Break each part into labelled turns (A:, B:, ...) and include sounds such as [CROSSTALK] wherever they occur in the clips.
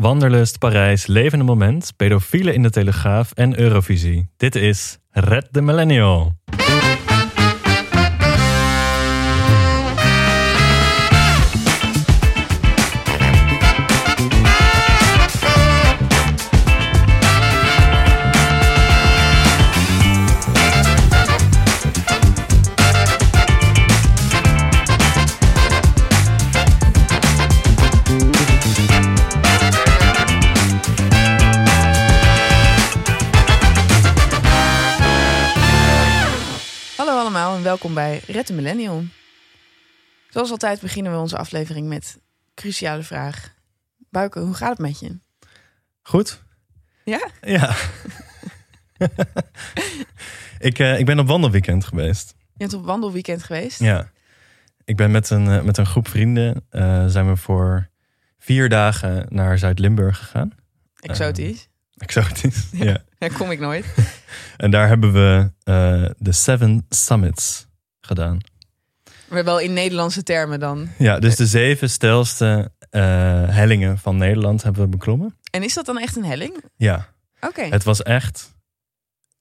A: Wanderlust, Parijs, Levende Moment, Pedofielen in de Telegraaf en Eurovisie. Dit is Red de Millennial.
B: Hallo allemaal en welkom bij Red de Millennial. Zoals altijd beginnen we onze aflevering met cruciale vraag. Buiken, hoe gaat het met je?
A: Goed?
B: Ja?
A: Ja. [LAUGHS] ik, eh, ik ben op wandelweekend geweest.
B: Je bent op wandelweekend geweest?
A: Ja. Ik ben met een, eh, met een groep vrienden eh, zijn we voor vier dagen naar Zuid-Limburg gegaan.
B: Exotisch.
A: Exotisch.
B: Ja.
A: [LAUGHS] ja.
B: Daar kom ik nooit.
A: En daar hebben we eh, de Seven Summits gedaan.
B: Maar wel in Nederlandse termen dan.
A: Ja, dus de zeven stelste eh, hellingen van Nederland hebben we beklommen.
B: En is dat dan echt een helling? Oké.
A: Ja, het was echt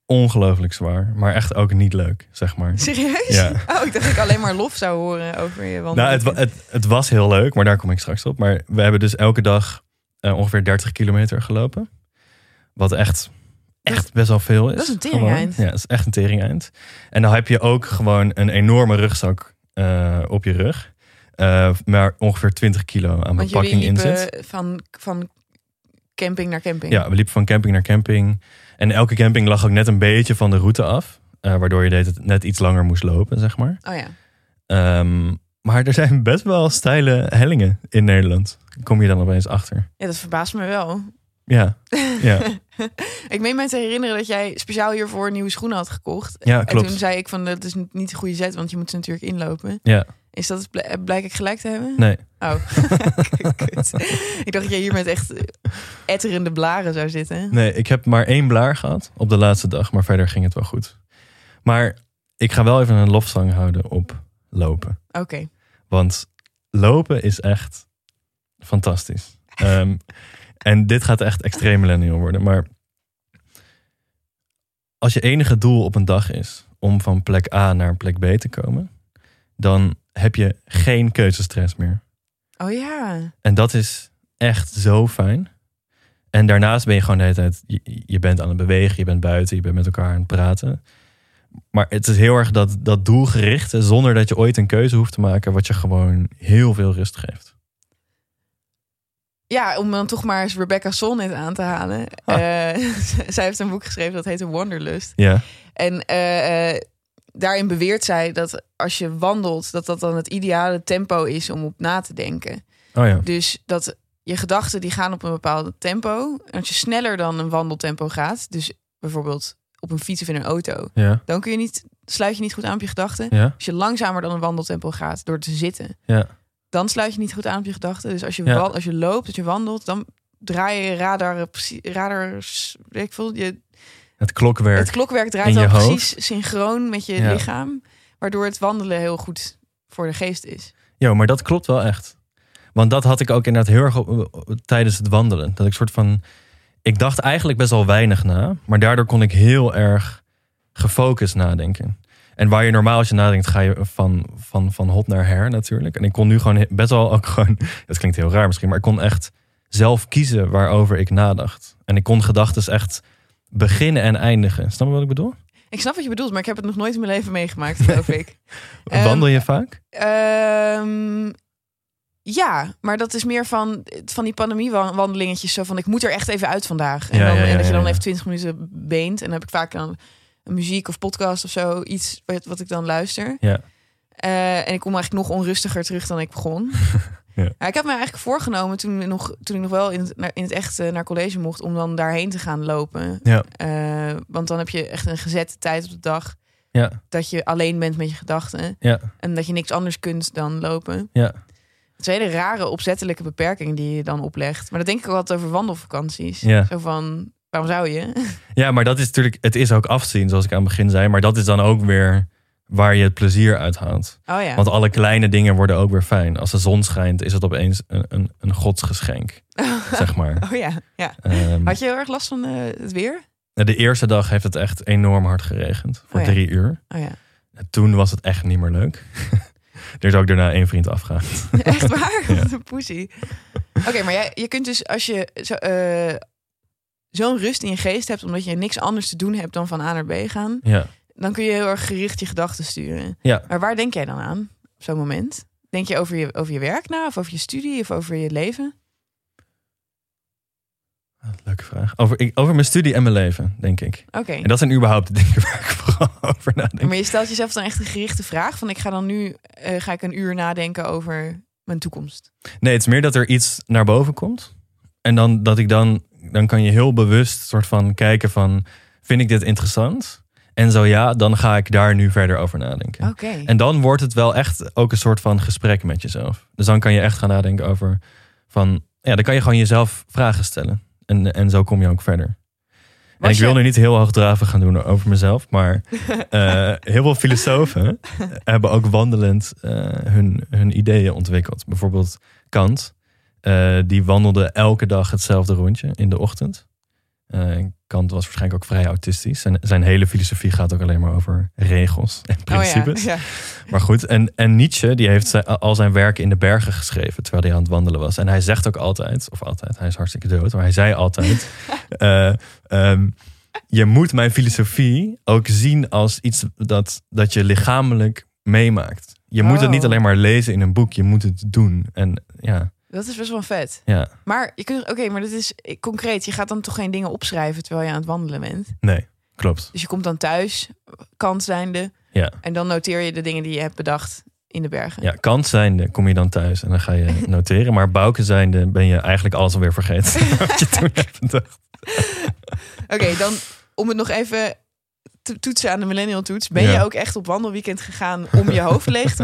A: ongelooflijk zwaar, maar echt ook niet leuk, zeg maar.
B: Serieus?
A: Ja.
B: Oh, ik dacht dat ik alleen maar lof zou horen over je
A: Nou, het,
B: wandelweekend.
A: wa- het, het was heel leuk, maar daar kom ik straks op. Maar we hebben dus elke dag eh, ongeveer 30 kilometer gelopen. Wat echt, echt best wel veel is.
B: dat is een tering eind.
A: Gewoon. Ja, dat is echt een tering eind. En dan heb je ook gewoon een enorme rugzak eh, op je rug. Eh, maar ongeveer 20 kilo aan
B: Want jullie
A: bepakking in zit.
B: liepen van, van camping naar camping.
A: Ja, we liepen van camping naar camping. En elke camping lag ook net een beetje van de route af. eh, waardoor je deed het net iets langer moest lopen, zeg maar.
B: Oh ja.
A: Ehm, maar er zijn best wel steile hellingen in Nederland. Kom je dan opeens achter.
B: Ja, dat verbaast me wel.
A: Ja, ja,
B: [LAUGHS] Ik meen mij te herinneren dat jij speciaal hiervoor nieuwe schoenen had gekocht.
A: ja
B: En toen
A: klopt.
B: zei ik van dat is niet de goede zet, want je moet ze natuurlijk inlopen.
A: Ja.
B: Is dat het bl- blijk ik gelijk te hebben?
A: Nee. [LAUGHS]
B: Oh, [LAUGHS] Kut. ik dacht dat je hier met echt etterende blaren zou zitten.
A: Nee, ik heb maar één blaar gehad op de laatste dag. Maar verder ging het wel goed. Maar ik ga wel even een lofzang houden op lopen.
B: Oké,
A: Want lopen is echt fantastisch. Ehm, en dit gaat echt extreem millennial worden. Maar als je enige doel op een dag is om van plek A naar plek B te komen, dan heb je geen keuzestress meer.
B: oh ja.
A: En dat is echt zo fijn. En daarnaast ben je gewoon de hele tijd, je, je bent aan het bewegen, je bent buiten, je bent met elkaar aan het praten. Maar het is heel erg dat, dat doelgerichte, zonder dat je ooit een keuze hoeft te maken, wat je gewoon heel veel rust geeft.
B: Ja, om dan toch maar eens Rebecca Solnit aan te halen.
A: Ah.
B: Eh, [LAUGHS] zij heeft een boek geschreven dat heet Wanderlust.
A: Ja,
B: En eh, eh, daarin beweert zij dat als je wandelt, dat dat dan het ideale tempo is om op na te denken.
A: oh ja.
B: Dus dat je gedachten die gaan op een bepaald tempo. En als je sneller dan een wandeltempo gaat, dus bijvoorbeeld op een fiets of in een auto,
A: Ja,
B: dan kun je niet, sluit je niet goed aan op je gedachten.
A: ja,
B: Als je langzamer dan een wandeltempo gaat door te zitten,
A: ja.
B: dan sluit je niet goed aan op je gedachten. Dus als je,
A: Ja.
B: wa- als je loopt, als je wandelt, dan draai je radar, precie- radars, weet ik veel, je,
A: Het klokwerk.
B: het klokwerk draait
A: In
B: dan
A: je hoofd.
B: precies synchroon met je
A: Ja.
B: lichaam, waardoor het wandelen heel goed voor de geest is.
A: Ja, maar dat klopt wel echt. Want dat had ik ook inderdaad heel erg op- op- tijdens het wandelen. Dat ik soort van. Ik dacht eigenlijk best wel weinig na, maar daardoor kon ik heel erg gefocust nadenken. En waar je normaal als je nadenkt, ga je van, van, van hot naar her natuurlijk. En ik kon nu gewoon he- best wel ook [LAUGHS] gewoon. Het klinkt heel raar misschien, maar ik kon echt zelf kiezen waarover ik nadacht. En ik kon gedachten echt beginnen en eindigen. Snap je wat ik bedoel?
B: Ik snap wat je bedoelt, maar ik heb het nog nooit in mijn leven meegemaakt,
A: [LAUGHS]
B: geloof ik. Ehm,
A: Wandel je vaak?
B: Ehm, ja, maar dat is meer van, van die pandemiewandelingetjes. Zo van, ik moet er echt even uit vandaag. En,
A: Ja,
B: dan,
A: ja, ja,
B: en dat je dan
A: ja, ja.
B: even 20 minuten beent. En dan heb ik vaak dan een muziek of podcast of zo. Iets wat, wat ik dan luister.
A: Ja.
B: Eh, en ik kom eigenlijk nog onrustiger terug dan ik
A: [LAUGHS]
B: begon.
A: Ja.
B: Maar ik heb me eigenlijk voorgenomen toen, ik nog, toen ik nog wel in het, naar- in het echt eh, naar college mocht... om dan daarheen te gaan lopen.
A: Ja.
B: Eh, want dan heb je echt een gezette tijd op de dag...
A: Ja,
B: dat je alleen bent met je gedachten.
A: ja,
B: En dat je niks anders kunt dan lopen.
A: ja.
B: Het is een hele rare opzettelijke beperking die je dan oplegt. Maar dat denk ik ook altijd over wandelvakanties.
A: Ja.
B: Zo van, waarom zou je?
A: Ja, maar dat is natuurlijk, het is ook afzien, zoals ik aan het begin zei. Maar dat is dan ook weer waar je het plezier uit haalt.
B: Oh ja.
A: Want alle kleine dingen worden ook weer fijn. Als de zon schijnt, is het opeens een, een, een
B: [LAUGHS]
A: godsgeschenk, zeg maar.
B: [LAUGHS] oh ja, ja.
A: Ehm,
B: Had je heel erg last van eh, het weer? [LAUGHS]
A: de eerste dag heeft het echt enorm hard geregend, voor
B: Oh ja.
A: drie uur.
B: Oh ja.
A: En toen was het echt niet meer leuk. [LAUGHS] er is ook daarna één vriend afgegaan.
B: Echt waar?
A: Ja.
B: Wat een poesie. Oké, maar jij, je kunt dus als je zo, eh, zo'n rust in je geest hebt... omdat je niks anders te doen hebt dan van A naar B gaan...
A: Ja.
B: dan kun je heel erg gericht je gedachten sturen.
A: Ja.
B: Maar waar denk jij dan aan op zo'n moment? Denk je over, je over je werk na of over je studie of over je leven?
A: Leuke vraag. Over, ik, over mijn studie en mijn leven, denk ik.
B: Oké.
A: En dat zijn überhaupt de dingen waar ik vooral [LAUGHS] over nadenk.
B: Maar je stelt jezelf dan echt een gerichte vraag van ik ga dan nu eh, ga ik een uur nadenken over mijn toekomst.
A: Nee, het is meer dat er iets naar boven komt. En dan dat ik dan, dan kan je heel bewust soort van kijken van, vind ik dit interessant? En zo ja, dan ga ik daar nu verder over nadenken.
B: Oké.
A: En dan wordt het wel echt ook een soort van gesprek met jezelf. Dus dan kan je echt gaan nadenken over van, ja, dan kan je gewoon jezelf vragen stellen. En, en zo kom je ook verder. En
B: Was
A: ik wil
B: je-
A: nu niet heel hoogdravig gaan doen over mezelf,
B: [LAUGHS]
A: maar eh, heel veel filosofen hebben ook wandelend eh, hun, hun ideeën ontwikkeld. Bijvoorbeeld Kant, eh, die wandelde elke dag hetzelfde rondje in de ochtend. Eh, Kant was waarschijnlijk ook vrij autistisch. Zijn, zijn hele filosofie gaat ook alleen maar over regels en principes.
B: Oh ja, ja.
A: Maar goed, en, en Nietzsche die heeft zijn- al zijn werken in de bergen geschreven terwijl hij aan het wandelen was. En hij zegt ook altijd, of altijd, hij is hartstikke dood, maar hij zei altijd: eh, ehm, Je moet mijn filosofie ook zien als iets dat, dat je lichamelijk meemaakt. Je moet het
B: Oh.
A: niet alleen maar lezen in een boek, je moet het doen. En ja,
B: Dat is best wel vet.
A: ja
B: Maar je kunt, oké, maar dat is eh, concreet. Je gaat dan toch geen dingen opschrijven terwijl je aan het wandelen bent.
A: nee, klopt.
B: Dus je komt dan thuis, kant zijnde,
A: Ja.
B: en dan noteer je de dingen die je hebt bedacht in de bergen.
A: Ja, Kant zijnde kom je dan thuis en dan ga je noteren. Maar Bouke zijnde ben je eigenlijk alles alweer vergeten. [LAUGHS] wat je toen hebt bedacht.
B: [LAUGHS] Oké, dan om het nog even te toetsen aan de millennial toets. Ben
A: Ja.
B: je ook echt op wandelweekend gegaan om je hoofd leeg te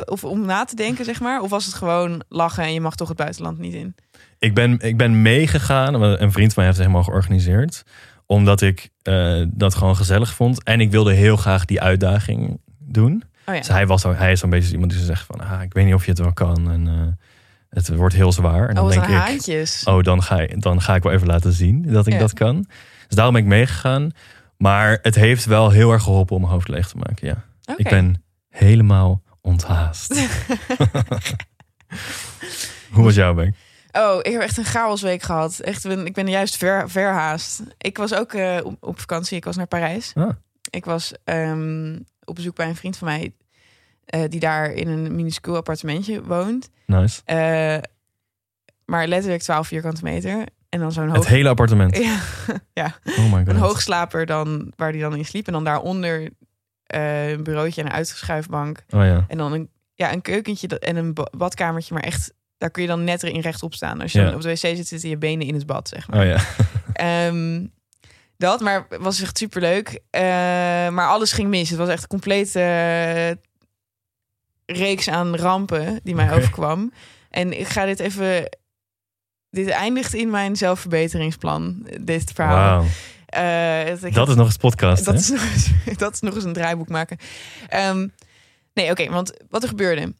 A: [LAUGHS]
B: Of om na te denken, zeg maar? Of was het gewoon lachen en je mag toch het buitenland niet in?
A: Ik ben, ik ben meegegaan. want Een vriend van mij heeft het helemaal georganiseerd. Omdat ik eh, dat gewoon gezellig vond. En ik wilde heel graag die uitdaging doen.
B: Oh ja,
A: Dus hij, was zo, hij is zo'n beetje iemand die zo zegt van... Ah, ik weet niet of je het wel kan. En eh, het wordt heel zwaar. En dan
B: oh, wat
A: denk
B: een
A: ik...
B: haantjes.
A: Oh, dan ga, ik- dan ga ik wel even laten zien dat ik
B: Ja.
A: dat kan. Dus daarom ben ik meegegaan. Maar het heeft wel heel erg geholpen om mijn hoofd leeg te maken, ja.
B: Oké.
A: Ik ben helemaal onthaast.
B: [LAUGHS]
A: [LAUGHS] Hoe was jouw week?
B: Oh, ik heb echt een chaosweek gehad. Echt, ben- ik ben juist ver, verhaast. Ik was ook eh, op, op vakantie. Ik was naar Parijs.
A: Ah.
B: Ik was ehm, op bezoek bij een vriend van mij... eh, die daar in een minuscuul appartementje woont.
A: Nice.
B: Eh, maar letterlijk 12 vierkante meter. En dan zo'n
A: Het
B: hoog...
A: hele appartement.
B: [LAUGHS] Ja,
A: Oh my god.
B: een hoogslaper dan, waar die dan in sliep. En dan daaronder eh, een bureautje en een uitschuifbank.
A: Oh ja.
B: En dan een, ja, een keukentje dat- en een ba- badkamertje. Maar echt, daar kun je dan net in rechtop staan. Als je
A: Ja.
B: dan op de wc zit, zitten je benen in het bad, zeg maar.
A: Oh ja.
B: Ehm, dat, maar het was echt superleuk. Eh, maar alles ging mis. Het was echt een complete eh, reeks aan rampen die mij
A: Oké.
B: overkwam. En ik ga dit even... Dit eindigt in mijn zelfverbeteringsplan, dit verhaal.
A: Wauw.
B: Eh, dat ik-
A: Dat is nog eens podcast,
B: dat
A: hè?
B: is, nog eens, [LAUGHS] dat is nog eens een draaiboek maken. Ehm, nee, oké, want wat er gebeurde.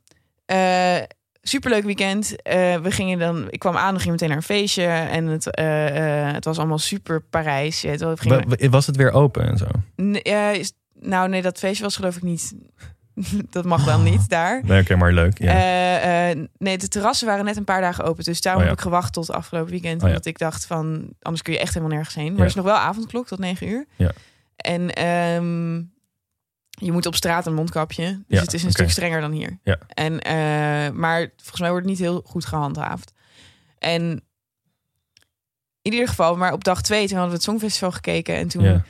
B: Eh, superleuk weekend. Eh, we gingen dan, ik kwam aan, we gingen meteen naar een feestje. En het, eh, eh, het was allemaal super Parijs. Je weet wel, we gingen-
A: Wa- wa- Was het weer open en zo?
B: Nee, eh, is- nou, nee, dat feestje was geloof ik niet. [LAUGHS] dat mag dan niet daar.
A: Nee, oké, maar leuk. Ja.
B: Eh, eh, nee, de terrassen waren net een paar dagen open. Dus daarom
A: Oh ja. Oh
B: heb ik gewacht tot afgelopen weekend.
A: ja.
B: Omdat ik dacht van, anders kun je echt helemaal nergens heen. Maar
A: Ja.
B: er is nog wel avondklok tot negen uur.
A: Ja.
B: En ehm, je moet op straat een mondkapje. Dus
A: Ja,
B: het is een
A: oké.
B: stuk strenger dan hier.
A: Ja.
B: En, eh, maar volgens mij wordt het niet heel goed gehandhaafd. En in ieder geval, maar op dag twee, toen hadden we het Songfestival gekeken. En toen
A: ja.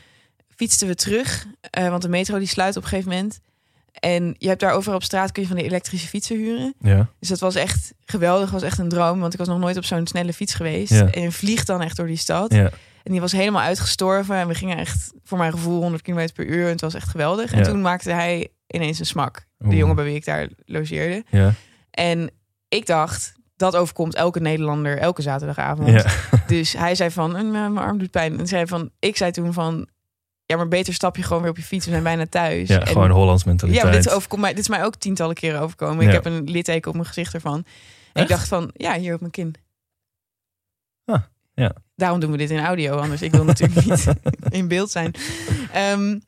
B: fietsten we terug, eh, want de metro die sluit op een gegeven moment. En je hebt daar overal op straat kun je van die elektrische fietsen huren.
A: ja.
B: Dus dat was echt geweldig, was echt een droom. Want ik was nog nooit op zo'n snelle fiets geweest.
A: Ja.
B: En je vliegt dan echt door die stad.
A: Ja.
B: En die was helemaal uitgestorven. En we gingen echt, voor mijn gevoel, 100 km per uur. En het was echt geweldig. En
A: Ja.
B: toen maakte hij ineens een smak. De
A: Oeh.
B: jongen bij wie ik daar logeerde.
A: Ja.
B: En ik dacht, dat overkomt elke Nederlander elke zaterdagavond.
A: Ja.
B: Dus hij zei van, "Mm, mijn arm doet pijn. En zei van, ik zei toen van, ja, maar beter stap je gewoon weer op je fiets. We zijn bijna thuis.
A: Ja,
B: En-
A: gewoon Hollands
B: ja,
A: mentaliteit.
B: maar dit, overkomt mij, dit is mij ook tientallen keren overkomen. Ik
A: Ja.
B: heb een litteken op mijn gezicht ervan. En ik
A: Echt?
B: dacht van, ja, hier op mijn kin.
A: Ah, ja.
B: Daarom doen we dit in audio, anders ik
A: [LAUGHS]
B: wil natuurlijk niet in beeld zijn. Ehm,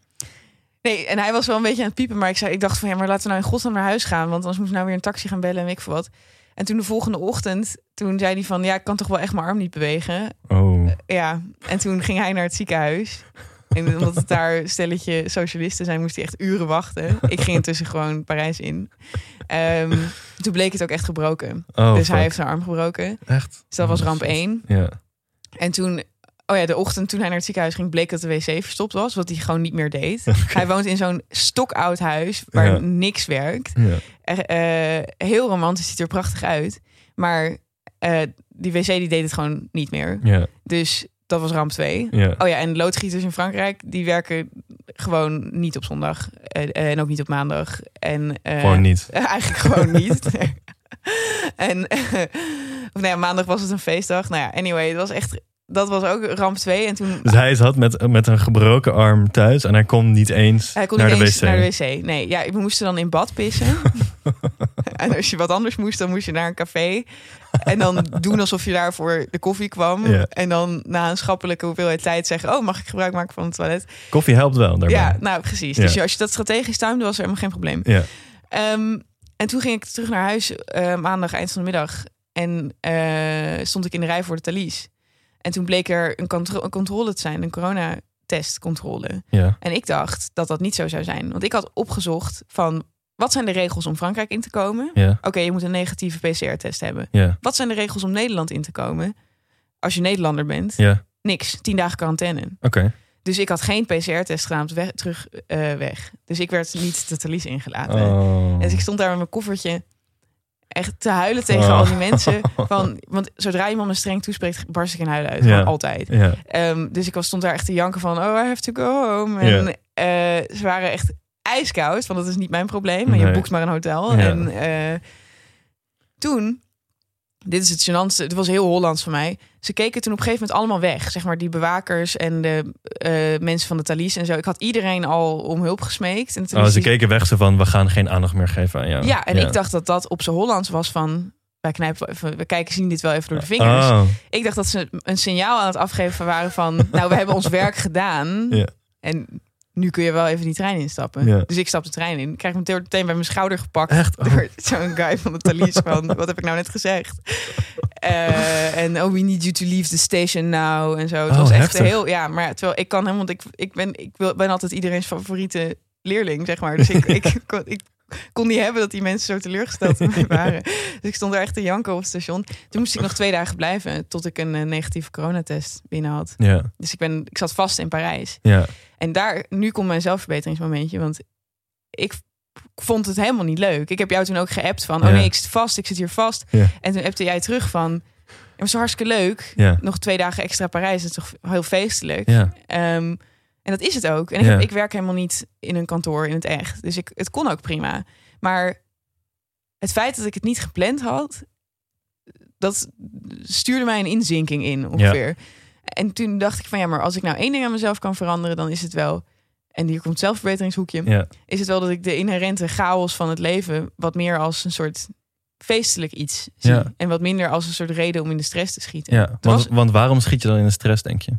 B: nee, en hij was wel een beetje aan het piepen, maar ik, zei, ik dacht van, ja, maar laten we nou in godsnaam naar huis gaan. Want anders moet ik nou weer een taxi gaan bellen en weet ik voor wat. En toen de volgende ochtend, toen zei hij van, ja, ik kan toch wel echt mijn arm niet bewegen.
A: Oh,
B: Ja, en toen ging hij naar het ziekenhuis. En omdat het daar een stelletje socialisten zijn, moest hij echt uren wachten. Ik ging intussen gewoon Parijs in. Ehm, toen bleek het ook echt gebroken.
A: oh
B: dus hij
A: fuck.
B: heeft zijn arm gebroken.
A: echt.
B: Dus dat was
A: Oh,
B: ramp
A: shit.
B: 1.
A: Ja.
B: En toen, oh ja, de ochtend toen hij naar het ziekenhuis ging, bleek dat de wc verstopt was. Wat hij gewoon niet meer deed. Hij woont in zo'n stokoud huis waar
A: Ja.
B: niks werkt.
A: [LAUGHS] ja.
B: Eh, eh, heel romantisch, ziet er prachtig uit. Maar eh, die wc die deed het gewoon niet meer.
A: Ja.
B: Dus dat was ramp 2.
A: Ja.
B: Oh ja, en loodgieters in Frankrijk, die werken gewoon niet op zondag. eh, eh, en ook niet op maandag. En, eh,
A: Gewoon niet.
B: [LAUGHS] eigenlijk gewoon niet. [LAUGHS] en [LAUGHS] eh, of nou ja, maandag was het een feestdag. Nou ja, anyway, het was echt, dat was ook ramp 2. En toen
A: Dus hij zat met, met een gebroken arm thuis en hij kon niet eens
B: hij kon
A: naar,
B: niet
A: de
B: eens
A: wc.
B: naar de wc. Nee, ja, we moesten dan in
A: [LAUGHS]
B: bad pissen. en als je wat anders moest, dan moest je naar een café. En dan doen alsof je daar voor de koffie kwam.
A: Ja.
B: En dan na een schappelijke hoeveelheid tijd zeggen... oh, mag ik gebruik maken van het toilet?
A: Koffie helpt wel daarbij.
B: Ja, nou precies.
A: Ja.
B: Dus als je dat strategisch tuimde, was er helemaal geen probleem.
A: Ja.
B: Ehm, en toen ging ik terug naar huis eh, maandag eind van de middag. En eh, stond ik in de rij voor de Thalys. En toen bleek er een, contro- een controle te zijn, een coronatestcontrole.
A: Ja.
B: En ik dacht dat dat niet zo zou zijn. Want ik had opgezocht van, wat zijn de regels om Frankrijk in te komen?
A: Ja.
B: Oké, je moet een negatieve PCR-test hebben.
A: Ja.
B: Wat zijn de regels om Nederland in te komen? Als je Nederlander bent,
A: Ja.
B: niks. Tien dagen quarantaine.
A: Oké.
B: Dus ik had geen PCR-test gedaan, weg, terug eh, weg. Dus ik werd niet de Thalys ingelaten.
A: Oh.
B: Dus ik stond daar met mijn koffertje echt te huilen tegen
A: Oh.
B: al die
A: [LAUGHS]
B: mensen. Van, want zodra iemand me streng toespreekt, barst ik in huilen uit.
A: Ja.
B: Gewoon altijd.
A: Ja.
B: Ehm, dus ik was, stond daar echt te janken van, oh, I have to go home. En
A: Ja.
B: eh, ze waren echt ijskoud, want dat is niet mijn probleem. Maar je
A: Nee.
B: boekt maar een hotel.
A: Ja.
B: En eh, toen, dit is het gênantste, het was heel Hollands van mij. Ze keken toen op een gegeven moment allemaal weg. Zeg maar die bewakers en de eh, mensen van de Thalys en zo. Ik had iedereen al om hulp gesmeekt. En toen
A: Oh,
B: is
A: ze
B: die-
A: keken weg zo van, we gaan geen aandacht meer geven aan jou.
B: Ja, en ik dacht dat dat op zijn Hollands was van... Wij knijpen, wel even- we kijken, zien dit wel even door de vingers.
A: Oh,
B: Ik dacht dat ze een signaal aan het afgeven waren van... [LAUGHS] nou, we hebben ons werk gedaan.
A: Ja.
B: En nu kun je wel even die trein instappen.
A: Ja.
B: Dus ik stap de trein in. Krijg meteen meteen bij mijn schouder gepakt.
A: echt? Oh,
B: Door [LAUGHS] zo'n guy van de Thalys van... wat heb ik nou net gezegd? Eh, en oh, we need you to leave the station now. En zo. Het
A: Oh,
B: was echt
A: heftig.
B: heel... Ja, maar ja, terwijl ik kan helemaal... Want ik, ik, ben, ik wil, ben altijd iedereen's favoriete leerling, zeg maar. Dus ik, ik, kon, ik kon niet hebben dat die mensen zo teleurgesteld in mij waren. Dus ik stond daar echt te janken op het station. Toen moest ik nog twee dagen blijven... tot ik een eh, negatieve coronatest binnen had.
A: ja.
B: Dus ik, ben, ik zat vast in Parijs.
A: Ja.
B: En daar, nu komt mijn zelfverbeteringsmomentje. Want ik vond het helemaal niet leuk. Ik heb jou toen ook geappt van, oh
A: Ja.
B: nee, ik zit vast, ik zit hier vast.
A: Ja.
B: En toen appte jij terug van, ja, maar het is hartstikke leuk.
A: Ja.
B: Nog twee dagen extra Parijs, dat is toch heel feestelijk.
A: Ja.
B: Ehm, en dat is het ook. En ik,
A: Ja.
B: heb- ik werk helemaal niet in een kantoor in het echt. Dus ik, het kon ook prima. Maar het feit dat ik het niet gepland had, dat stuurde mij een inzinking in ongeveer. En toen dacht ik van ja, maar als ik nou één ding aan mezelf kan veranderen, dan is het wel. En hier komt zelfverbeteringshoekje.
A: Ja.
B: Is het wel dat ik de inherente chaos van het leven wat meer als een soort feestelijk iets zie.
A: Ja.
B: En wat minder als een soort reden om in de stress te schieten.
A: ja.
B: was-
A: Want, want waarom schiet je dan in de stress, denk je?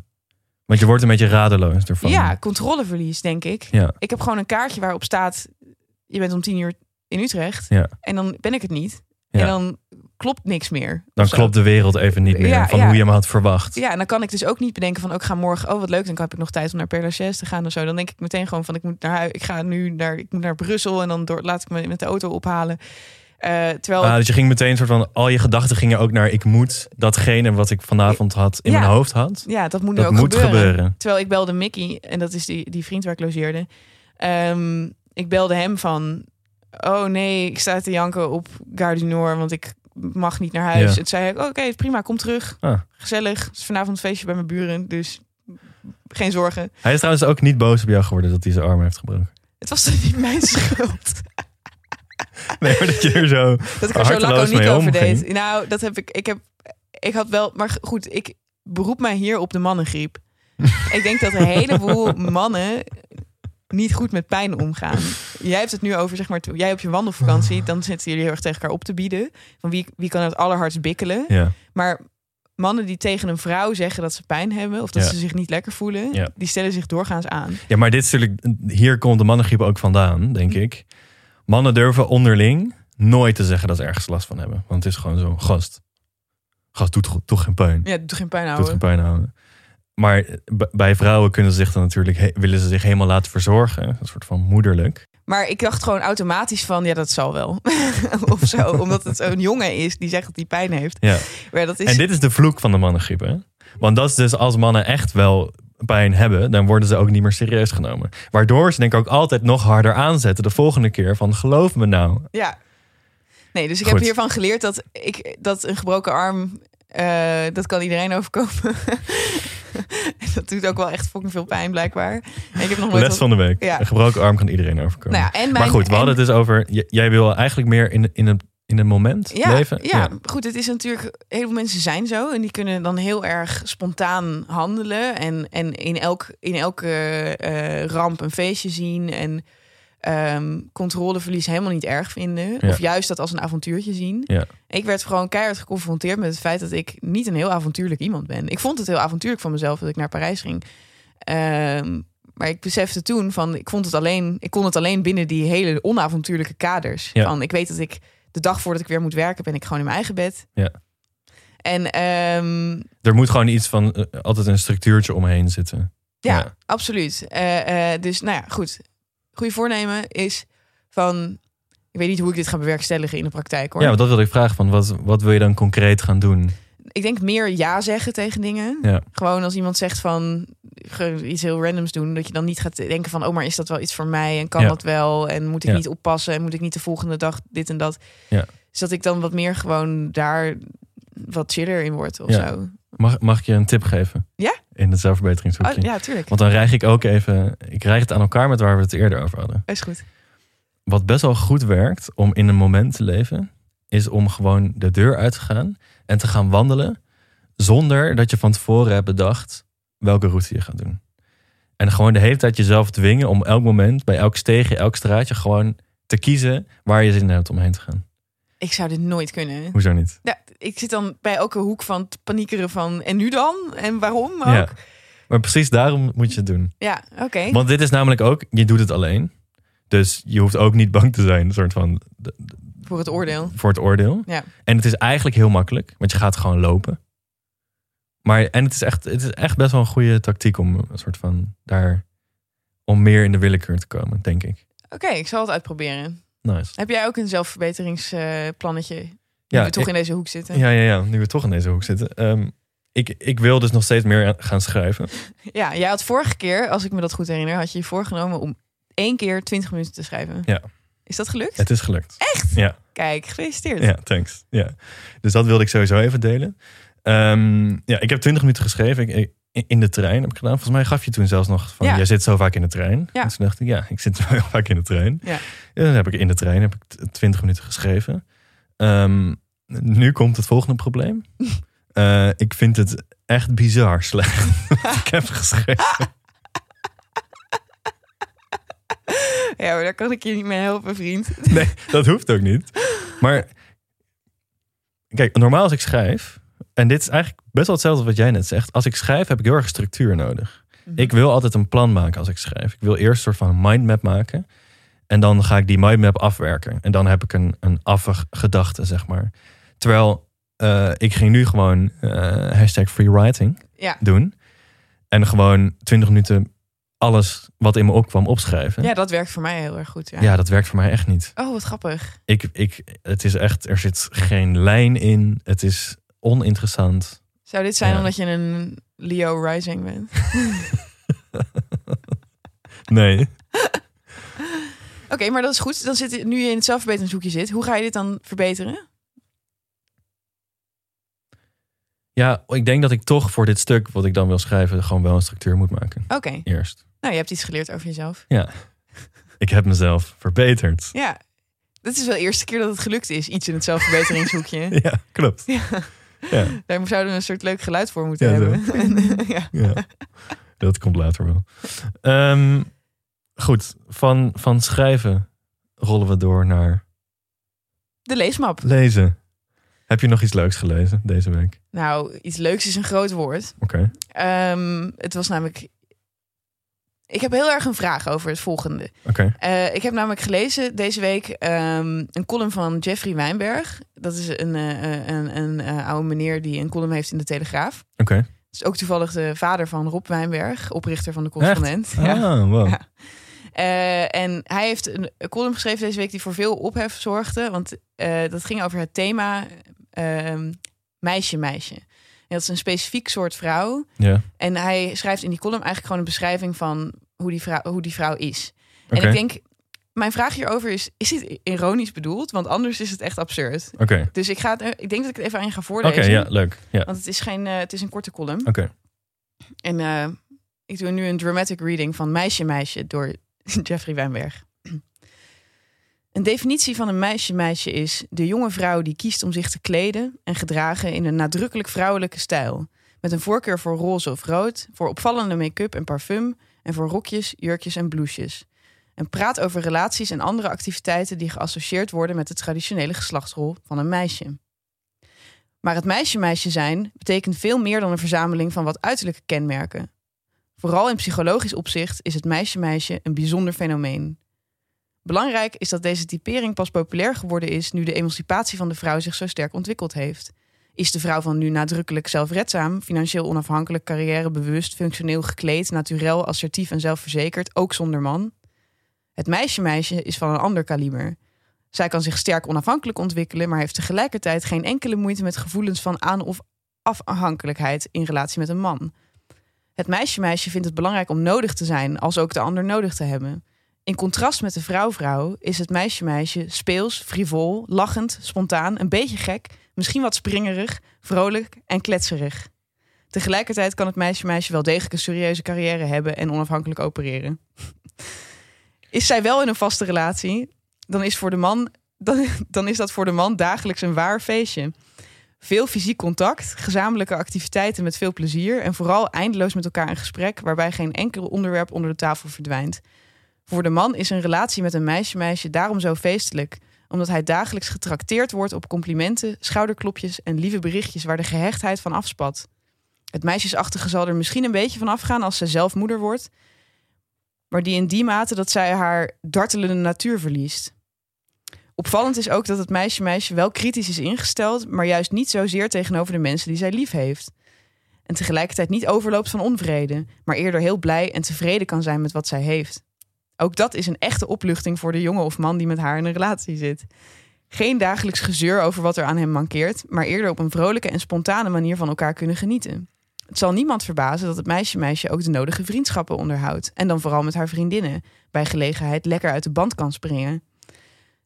A: Want je wordt een beetje radeloos ervan.
B: Ja, controleverlies, denk ik.
A: Ja.
B: Ik heb gewoon een kaartje waarop staat... je bent om tien uur in Utrecht.
A: Ja.
B: En dan ben ik het niet.
A: Ja.
B: En dan klopt niks meer.
A: Dan
B: Of zo.
A: klopt de wereld even niet meer
B: Ja,
A: van
B: ja.
A: hoe je hem had verwacht.
B: Ja, en dan kan ik dus ook niet bedenken van... ook ga morgen, oh wat leuk, dan heb ik nog tijd om naar Père Lachaise te gaan of zo. Dan denk ik meteen gewoon van, ik moet naar huis. Ik ga nu naar, ik moet naar Brussel en dan door, laat ik me met de auto ophalen. Eh, terwijl
A: Ah, dus je ging meteen soort van, al je gedachten gingen ook naar ik moet datgene wat ik vanavond had in
B: Ja.
A: mijn hoofd had.
B: Ja, dat moet nu
A: Dat
B: ook
A: moet gebeuren.
B: Terwijl ik belde Mickey, en dat is die, die vriend waar ik logeerde. Ehm, ik belde hem van... Oh nee, ik sta te janken op Gare du Nord, want ik mag niet naar huis.
A: Ja.
B: En toen zei ik, oké, prima, kom terug.
A: Ah.
B: Gezellig, het is vanavond een feestje bij mijn buren, dus geen zorgen.
A: Hij is trouwens ook niet boos op jou geworden dat hij zijn arm heeft gebroken.
B: Het was toch niet mijn [LAUGHS] schuld
A: Nee, maar [LAUGHS] dat je er
B: [LAUGHS]
A: zo...
B: dat ik er zo
A: Harteloos
B: laconiek
A: mee
B: over
A: omging. [LAUGHS]
B: deed. Nou, dat heb ik, ik heb, ik had wel, maar goed, ik beroep mij hier op de mannengriep. Ik denk dat een heleboel mannen niet goed met pijn omgaan. Jij hebt het nu over, zeg maar, toen jij op je wandelvakantie, dan zitten jullie heel erg tegen elkaar op te bieden. Van wie, wie kan het allerhardst bikkelen?
A: Ja.
B: Maar mannen die tegen een vrouw zeggen dat ze pijn hebben of dat
A: Ja.
B: ze zich niet lekker voelen,
A: Ja.
B: die stellen zich doorgaans aan.
A: ja, maar dit is natuurlijk, hier komt de mannengriep ook vandaan, denk ik. Mannen durven onderling nooit te zeggen dat ze ergens last van hebben. Want het is gewoon zo, gast. Gast doet go- toch geen pijn.
B: Ja, doe geen pijn
A: Doet geen
B: houden.
A: pijn houden. Maar eh, b- bij vrouwen kunnen ze zich dan natuurlijk, he- willen ze zich helemaal laten verzorgen. Een soort van moederlijk.
B: Maar ik dacht gewoon automatisch van, ja, dat zal wel. [LAUGHS] of zo, omdat het zo'n jongen is die zegt dat hij pijn heeft.
A: Ja.
B: Maar dat is...
A: En dit is de vloek van de mannengriep, hè? Want dat is dus als mannen echt wel pijn hebben, dan worden ze ook niet meer serieus genomen. Waardoor ze denk ik ook altijd nog harder aanzetten de volgende keer van geloof me nou.
B: Ja. Nee, dus ik
A: Goed.
B: heb hiervan geleerd dat, ik, dat een gebroken arm, eh, dat kan iedereen overkomen. [LAUGHS] dat doet ook wel echt fucking veel pijn, blijkbaar. En ik heb nog nooit...
A: Les
B: wat-
A: van de week.
B: Ja.
A: Een gebroken arm kan iedereen overkomen.
B: Nou ja, en mijn,
A: maar goed, we
B: en-
A: hadden het dus over, j- jij wil eigenlijk meer in, in, het, in het moment
B: ja,
A: leven.
B: Ja, goed, het is natuurlijk, heel veel mensen zijn zo en die kunnen dan heel erg spontaan handelen en, en in, elk, in elke eh, ramp een feestje zien en ehm, controleverlies helemaal niet erg vinden.
A: Ja.
B: Of juist dat als een avontuurtje zien.
A: Ja.
B: Ik werd gewoon keihard geconfronteerd met het feit dat ik niet een heel avontuurlijk iemand ben. Ik vond het heel avontuurlijk van mezelf dat ik naar Parijs ging. Ehm, maar ik besefte toen van ik vond het alleen, ik kon het alleen binnen die hele onavontuurlijke kaders.
A: Ja.
B: Van ik weet dat ik de dag voordat ik weer moet werken, ben ik gewoon in mijn eigen bed.
A: Ja.
B: En ehm,
A: Er moet gewoon iets van, eh, altijd een structuurtje omheen zitten.
B: ja,
A: Ja.
B: absoluut. Eh, eh, dus nou ja, goed. Goede voornemen is van. Ik weet niet hoe ik dit ga bewerkstelligen in de praktijk hoor.
A: Ja, want dat wilde ik vragen van, wat, wat wil je dan concreet gaan doen?
B: Ik denk meer ja zeggen tegen dingen.
A: Ja.
B: Gewoon als iemand zegt van ge- iets heel randoms doen, dat je dan niet gaat denken van, oh maar is dat wel iets voor mij en kan
A: Ja.
B: dat wel en moet ik
A: Ja.
B: niet oppassen en moet ik niet de volgende dag dit en dat.
A: Ja.
B: Dus dat ik dan wat meer gewoon daar wat chiller in word of
A: Ja.
B: zo.
A: Mag, mag ik je een tip geven?
B: Ja?
A: In het
B: Oh,
A: zelfverbeteringshoekje.
B: ja, tuurlijk.
A: Want dan rijg ik ook even, ik rijg het aan elkaar met waar we het eerder over hadden.
B: Is goed.
A: Wat best wel goed werkt om in een moment te leven, is om gewoon de deur uit te gaan en te gaan wandelen zonder dat je van tevoren hebt bedacht welke route je gaat doen. En gewoon de hele tijd jezelf dwingen om elk moment, bij elk steegje, elk straatje gewoon te kiezen waar je zin in hebt om heen te gaan.
B: Ik zou dit nooit kunnen.
A: Hoezo niet?
B: Ja, ik zit dan bij elke hoek van het paniekeren van en nu dan? En waarom ook?
A: Ja.
B: Ja,
A: Maar precies daarom moet je het doen.
B: oké.
A: Want dit is namelijk ook, je doet het alleen. Dus je hoeft ook niet bang te zijn, soort van,
B: Voor het oordeel.
A: voor het oordeel.
B: Ja.
A: En het is eigenlijk heel makkelijk, want je gaat gewoon lopen. Maar en het is echt, het is echt best wel een goede tactiek om een soort van daar om meer in de willekeur te komen, denk ik.
B: Oké, ik zal het uitproberen.
A: Nice.
B: Heb jij ook een zelfverbeteringsplannetje? ja,
A: Ja,
B: we toch
A: ik-
B: in deze hoek zitten.
A: ja, ja, ja, nu we toch in deze hoek zitten. Ehm, ik, ik wil dus nog steeds meer gaan schrijven.
B: Ja, jij had vorige keer, als ik me dat goed herinner, had je je voorgenomen om één keer 20 minuten te schrijven.
A: Ja.
B: Is dat gelukt?
A: Het is gelukt.
B: Kijk, gefeliciteerd.
A: Ja, thanks. Ja. Dus dat wilde ik sowieso even delen. Ehm, ja, ik heb 20 minuten geschreven. Ik, ik- in de trein heb ik gedaan. Volgens mij gaf je toen zelfs nog van...
B: Ja.
A: Jij zit zo vaak in de trein.
B: Ja.
A: En toen dacht ik, ja, ik zit zo heel vaak in de trein.
B: Ja.
A: En dan heb ik in de trein heb ik t- 20 minuten geschreven. Ehm, nu komt het volgende
B: [LAUGHS]
A: probleem. Eh, ik vind het echt bizar slecht [LAUGHS] wat ik heb geschreven.
B: Ja, maar daar kan ik je niet mee helpen, vriend.
A: Nee, dat hoeft ook niet. Maar kijk, normaal als ik schrijf, en dit is eigenlijk best wel hetzelfde wat jij net zegt. Als ik schrijf heb ik heel erg structuur nodig.
B: Mhm.
A: Ik wil altijd een plan maken als ik schrijf. Ik wil eerst een soort van een mindmap maken. En dan ga ik die mindmap afwerken. En dan heb ik een, een affe gedachte, zeg maar. Terwijl eh, ik ging nu gewoon eh hashtag free writing
B: Ja.
A: doen. En gewoon 20 minuten alles wat in me opkwam opschrijven.
B: Ja, dat werkt voor mij heel erg goed. Ja.
A: ja, dat werkt voor mij echt niet
B: Oh, wat grappig.
A: ik, ik, het is echt, er zit geen lijn in. Het is oninteressant.
B: Zou dit zijn
A: Ja.
B: omdat je een Leo Rising bent?
A: Nee.
B: Oké, maar dat is goed. Dan zit nu je in het zelfverbeteringshoekje zit. Hoe ga je dit dan verbeteren?
A: Ja, ik denk dat ik toch voor dit stuk wat ik dan wil schrijven, gewoon wel een structuur moet maken.
B: Oké,
A: Eerst.
B: nou je hebt iets geleerd over jezelf.
A: Ik heb mezelf verbeterd.
B: Ja, dit is wel de eerste keer dat het gelukt is. Iets in het zelfverbeteringshoekje.
A: [LAUGHS] Ja, klopt.
B: ja,
A: [LAUGHS] Ja,
B: daar zouden we een soort leuk geluid voor moeten
A: [LAUGHS] Ja, zo.
B: [LAUGHS] hebben. En, eh, ja.
A: ja. Dat komt later wel. Ehm, goed, van, van schrijven rollen we door naar
B: De leesmap.
A: lezen. Heb je nog iets leuks gelezen deze week?
B: Nou, iets leuks is een groot woord.
A: Oké.
B: Ehm, het was namelijk... Ik heb heel erg een vraag over het volgende.
A: Oké.
B: Eh, ik heb namelijk gelezen deze week ehm, een column van Jeffrey Wijnberg. Dat is een, eh, eh, een, een eh, oude meneer die een column heeft in de Telegraaf.
A: Oké.
B: Dat is ook toevallig de vader van Rob Wijnberg, oprichter van de correspondent. Ja.
A: Ah, wow.
B: Ja. Eh, en hij heeft een een column geschreven deze week die voor veel ophef zorgde. Want eh, dat ging over het thema ehm, meisje, meisje. En dat is een specifiek soort vrouw.
A: Ja.
B: En hij schrijft in die column eigenlijk gewoon een beschrijving van hoe die vrouw, hoe die vrouw is.
A: Oké.
B: En ik denk, mijn vraag hierover is: is dit ironisch bedoeld? Want anders is het echt absurd.
A: Oké.
B: Dus ik, ga het, eh, ik denk dat ik het even aan je ga
A: Oké,
B: voorlezen.
A: ja, leuk. Ja. Oké.
B: Want het is, geen, eh, het is een korte column. En eh, ik doe nu een dramatic reading van Meisje Meisje door [LAUGHS] Jeffrey Wijnberg. Een definitie van een meisje-meisje is de jonge vrouw die kiest om zich te kleden en gedragen in een nadrukkelijk vrouwelijke stijl. Met een voorkeur voor roze of rood, voor opvallende make-up en parfum en voor rokjes, jurkjes en blouses. En praat over relaties en andere activiteiten die geassocieerd worden met de traditionele geslachtsrol van een meisje. Maar het meisje-meisje zijn betekent veel meer dan een verzameling van wat uiterlijke kenmerken. Vooral in psychologisch opzicht is het meisje-meisje een bijzonder fenomeen. Belangrijk is dat deze typering pas populair geworden is nu de emancipatie van de vrouw zich zo sterk ontwikkeld heeft. Is de vrouw van nu nadrukkelijk zelfredzaam, financieel onafhankelijk, carrièrebewust, functioneel gekleed, naturel, assertief en zelfverzekerd, ook zonder man? Het meisje-meisje is van een ander kaliber. Zij kan zich sterk onafhankelijk ontwikkelen, maar heeft tegelijkertijd geen enkele moeite met gevoelens van aan- of afhankelijkheid in relatie met een man. Het meisje-meisje vindt het belangrijk om nodig te zijn, als ook de ander nodig te hebben. In contrast met de vrouw-vrouw is het meisje-meisje speels, frivol, lachend, spontaan, een beetje gek, misschien wat springerig, vrolijk en kletserig. Tegelijkertijd kan het meisje-meisje wel degelijk een serieuze carrière hebben en onafhankelijk opereren. [LAUGHS] Is zij wel in een vaste relatie, dan is, voor de man, dan, dan is dat voor de man dagelijks een waar feestje. Veel fysiek contact, gezamenlijke activiteiten met veel plezier en vooral eindeloos met elkaar in gesprek, waarbij geen enkel onderwerp onder de tafel verdwijnt. Voor de man is een relatie met een meisje-meisje daarom zo feestelijk, omdat hij dagelijks getrakteerd wordt op complimenten, schouderklopjes en lieve berichtjes waar de gehechtheid van afspat. Het meisjesachtige zal er misschien een beetje van afgaan als ze zelf moeder wordt, maar die in die mate dat zij haar dartelende natuur verliest. Opvallend is ook dat het meisje-meisje wel kritisch is ingesteld, maar juist niet zozeer tegenover de mensen die zij lief heeft. En tegelijkertijd niet overloopt van onvrede, maar eerder heel blij en tevreden kan zijn met wat zij heeft. Ook dat is een echte opluchting voor de jongen of man die met haar in een relatie zit. Geen dagelijks gezeur over wat er aan hem mankeert, maar eerder op een vrolijke en spontane manier van elkaar kunnen genieten. Het zal niemand verbazen dat het meisje-meisje ook de nodige vriendschappen onderhoudt, en dan vooral met haar vriendinnen, bij gelegenheid lekker uit de band kan springen.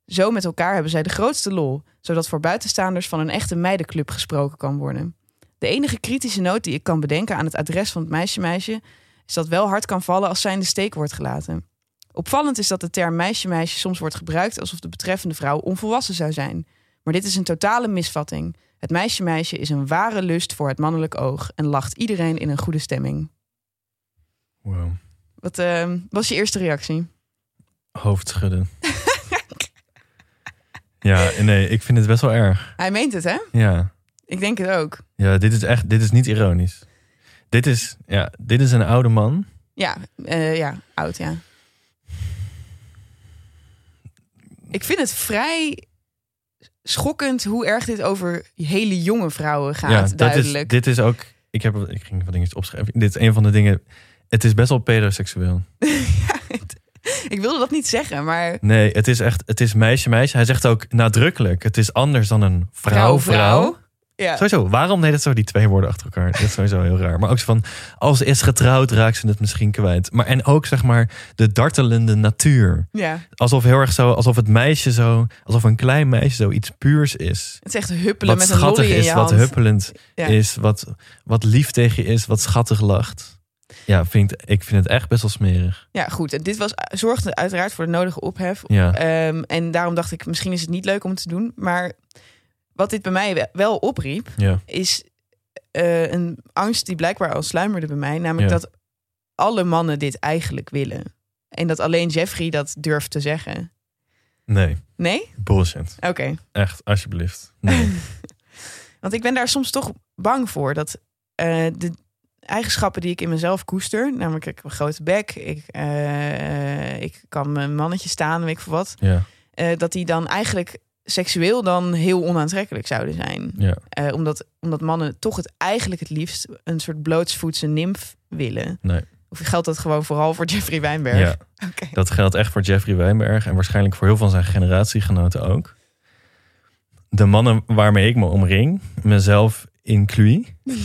B: Zo met elkaar hebben zij de grootste lol, zodat voor buitenstaanders van een echte meidenclub gesproken kan worden. De enige kritische noot die ik kan bedenken aan het adres van het meisje-meisje is dat wel hard kan vallen als zij in de steek wordt gelaten. Opvallend is dat de term meisje-meisje soms wordt gebruikt alsof de betreffende vrouw onvolwassen zou zijn. Maar dit is een totale misvatting. Het meisje-meisje is een ware lust voor het mannelijk oog en lacht iedereen in een goede stemming.
A: Wow.
B: Wat eh, was je eerste reactie? [LAUGHS]
A: Hoofdschudden. ja, nee, ik vind het best wel erg.
B: Hij meent het, hè?
A: Ja.
B: Ik denk het ook.
A: Ja, dit is echt, dit is niet ironisch. Dit is, ja, dit is een oude man.
B: Ja, eh, ja, oud, ja. Ik vind het vrij schokkend hoe erg dit over hele jonge vrouwen gaat,
A: ja, dat is,
B: duidelijk.
A: dit is ook, ik, heb, ik ging wat dingetjes opschrijven. Dit is een van de dingen, het is best wel pedoseksueel.
B: Ja, het- ik wilde dat niet zeggen, maar
A: Nee, het is echt, het is meisje, meisje. Hij zegt ook nadrukkelijk, het is anders dan een vrouw, vrouw.
B: Ja.
A: Sowieso, waarom deed het zo die twee woorden achter elkaar? Dat is sowieso heel raar. Maar ook zo van, als ze is getrouwd, raakt ze het misschien kwijt. Maar en ook zeg maar de dartelende natuur.
B: ja,
A: Alsof heel erg zo, alsof het meisje zo, alsof een klein meisje zo iets puurs is.
B: het is echt huppelen
A: wat
B: met een
A: schattig
B: lolly in
A: is,
B: je
A: wat
B: hand.
A: huppelend
B: Ja.
A: is, wat, wat lief tegen je is, wat schattig lacht. Ja, vind, ik- ik vind het echt best wel smerig.
B: Ja, goed. En dit was, zorgde uiteraard voor de nodige ophef.
A: Ja,
B: Ehm, en daarom dacht ik, misschien is het niet leuk om te doen. Maar wat dit bij mij we- wel opriep,
A: ja,
B: is eh, een angst die blijkbaar al sluimerde bij mij. Namelijk
A: Ja.
B: dat alle mannen dit eigenlijk willen. En dat alleen Jeffrey dat durft te zeggen.
A: Nee,
B: Nee?
A: bullshit.
B: Oké.
A: Echt, alsjeblieft.
B: [LAUGHS]
A: Nee.
B: Want ik ben daar soms toch bang voor. Dat eh, de eigenschappen die ik in mezelf koester, namelijk ik heb een grote bek, ik, eh, ik kan mijn mannetje staan, weet ik voor wat,
A: ja,
B: eh, dat die dan eigenlijk seksueel dan heel onaantrekkelijk zouden zijn.
A: ja.
B: Eh, omdat, omdat mannen toch het eigenlijk het liefst een soort blootsvoetse nimf willen.
A: Nee.
B: Of geldt dat gewoon vooral voor Jeffrey Wijnberg?
A: ja.
B: Oké.
A: Dat geldt echt voor Jeffrey Wijnberg en waarschijnlijk voor heel veel van zijn generatiegenoten ook. De mannen waarmee ik me omring, mezelf inclui, [LAUGHS]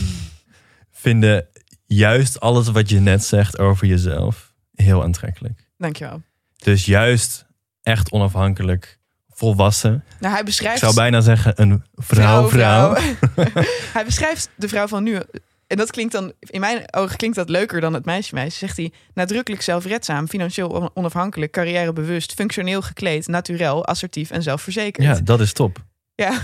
A: vinden juist alles wat je net zegt over jezelf heel aantrekkelijk.
B: Dankjewel.
A: Dus juist echt onafhankelijk, volwassen.
B: Nou, hij
A: Ik
B: beschrijft...
A: zou bijna zeggen een vrouw, vrouw. [LAUGHS]
B: [LAUGHS] hij beschrijft de vrouw van nu. En dat klinkt dan, in mijn ogen klinkt dat leuker dan het meisje meisje. Zegt hij, nadrukkelijk zelfredzaam, financieel on- onafhankelijk, carrièrebewust, functioneel gekleed, naturel, assertief en zelfverzekerd.
A: Ja, dat is top.
B: Ja,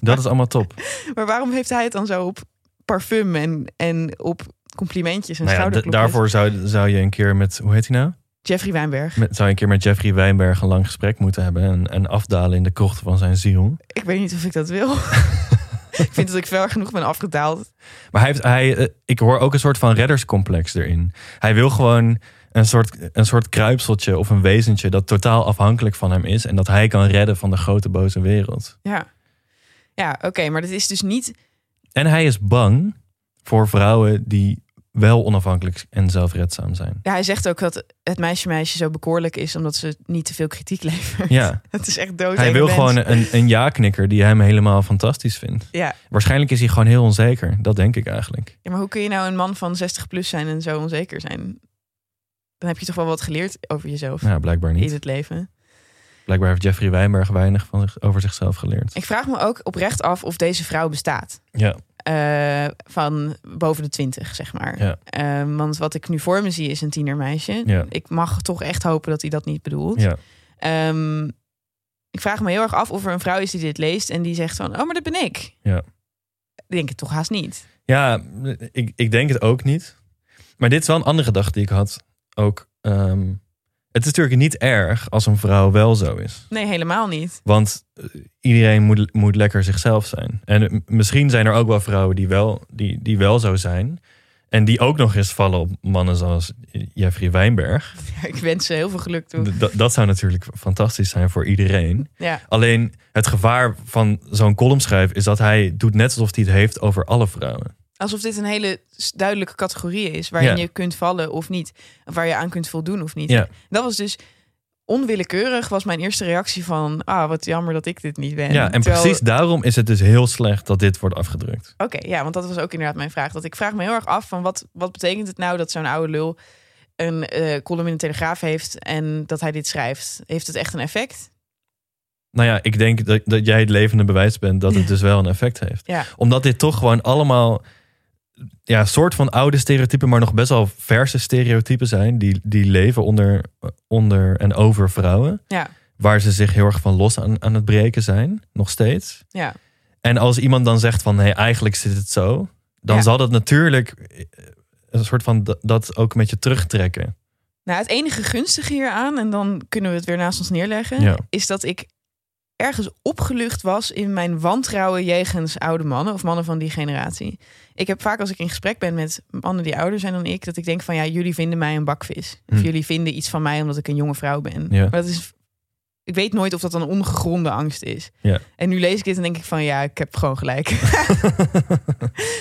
A: Dat is allemaal top.
B: Maar waarom heeft hij het dan zo op parfum en, en op complimentjes en
A: Nou ja, d-
B: schouderklopjes?
A: daarvoor zou, zou je een keer met, hoe heet hij nou?
B: Jeffrey Wijnberg.
A: Met, zou je een keer met Jeffrey Wijnberg een lang gesprek moeten hebben en, en afdalen in de krochten van zijn ziel.
B: Ik weet niet of ik dat
A: [LAUGHS]
B: wil. ik vind dat ik ver genoeg ben afgedaald.
A: Maar hij heeft, hij, eh, ik hoor ook een soort van redderscomplex erin. Hij wil gewoon een soort, een soort kruipseltje of een wezentje dat totaal afhankelijk van hem is. En dat hij kan redden van de grote boze wereld.
B: Ja, ja oké, maar dat is dus niet...
A: En hij is bang voor vrouwen die wel onafhankelijk en zelfredzaam zijn.
B: Ja, hij zegt ook dat het meisje meisje zo bekoorlijk is... omdat ze niet te veel kritiek levert.
A: Ja,
B: [LAUGHS] Het is echt dood.
A: hij wil gewoon een, een ja-knikker die hem helemaal fantastisch vindt.
B: Ja.
A: Waarschijnlijk is hij gewoon heel onzeker. Dat denk ik eigenlijk.
B: Ja, maar hoe kun je nou een man van 60 plus zijn en zo onzeker zijn? Dan heb je toch wel wat geleerd over jezelf
A: Nou, blijkbaar
B: in
A: niet.
B: het leven.
A: Blijkbaar heeft Jeffrey Wijnberg weinig van zich, over zichzelf geleerd.
B: Ik vraag me ook oprecht af of deze vrouw bestaat.
A: Ja,
B: Eh, van boven de 20, zeg maar.
A: Ja.
B: Eh, want wat ik nu voor me zie is een tienermeisje.
A: ja,
B: Ik mag toch echt hopen dat hij dat niet bedoelt.
A: ja.
B: Ehm, ik vraag me heel erg af of er een vrouw is die dit leest en die zegt van... Oh, maar dat ben ik.
A: Ja.
B: Ik denk het toch haast niet.
A: Ja, ik, ik denk het ook niet. Maar dit is wel een andere gedachte die ik had. Ook, ehm, het is natuurlijk niet erg als een vrouw wel zo is.
B: Nee, helemaal niet. [LAUGHS]
A: Want eh, iedereen moet, moet lekker zichzelf zijn. En eh, m- misschien zijn er ook wel vrouwen die wel, die, die wel zo zijn. En die ook nog eens vallen op mannen zoals Jeffrey Wijnberg.
B: ik wens ze heel veel geluk toe.
A: D- dat- dat zou natuurlijk fantastisch zijn voor iedereen.
B: Ja.
A: Alleen het gevaar van zo'n columnschrijf is dat hij doet net alsof hij het heeft over alle vrouwen.
B: Alsof dit een hele s- duidelijke categorie is waarin
A: Ja.
B: je kunt vallen of niet. Of waar je aan kunt voldoen of niet.
A: Ja.
B: Dat was dus onwillekeurig was mijn eerste reactie van... Ah, wat jammer dat ik dit niet ben.
A: ja, en
B: Terwijl-
A: precies daarom is het dus heel slecht dat dit wordt afgedrukt.
B: Oké, ja, want dat was ook inderdaad mijn vraag. Dat ik vraag me heel erg af van wat, wat betekent het nou dat zo'n oude lul een eh, column in de Telegraaf heeft en dat hij dit schrijft. Heeft het echt een effect?
A: Nou ja, ik denk dat, dat jij het levende bewijs bent dat
B: [LAUGHS]
A: het dus wel een effect heeft.
B: Ja.
A: Omdat dit toch gewoon allemaal ja, soort van oude stereotypen, maar nog best wel verse stereotypen zijn. Die, die leven onder, onder en over vrouwen.
B: Ja.
A: Waar ze zich heel erg van los aan, aan het breken zijn, nog steeds.
B: Ja.
A: En als iemand dan zegt van, nee, eigenlijk zit het zo. Dan
B: Ja.
A: zal dat natuurlijk eh, een soort van d- dat ook met je terugtrekken.
B: Nou, het enige gunstige hieraan, en dan kunnen we het weer naast ons neerleggen,
A: Ja.
B: is dat ik ergens opgelucht was in mijn wantrouwen jegens oude mannen of mannen van die generatie. Ik heb vaak als ik in gesprek ben met mannen die ouder zijn dan ik, dat ik denk van ja, jullie vinden mij een bakvis. Of
A: Hm.
B: jullie vinden iets van mij omdat ik een jonge vrouw ben.
A: Ja.
B: Maar dat is, ik weet nooit of dat een ongegronde angst is.
A: Ja.
B: En nu lees ik dit en denk ik van ja, ik heb gewoon gelijk.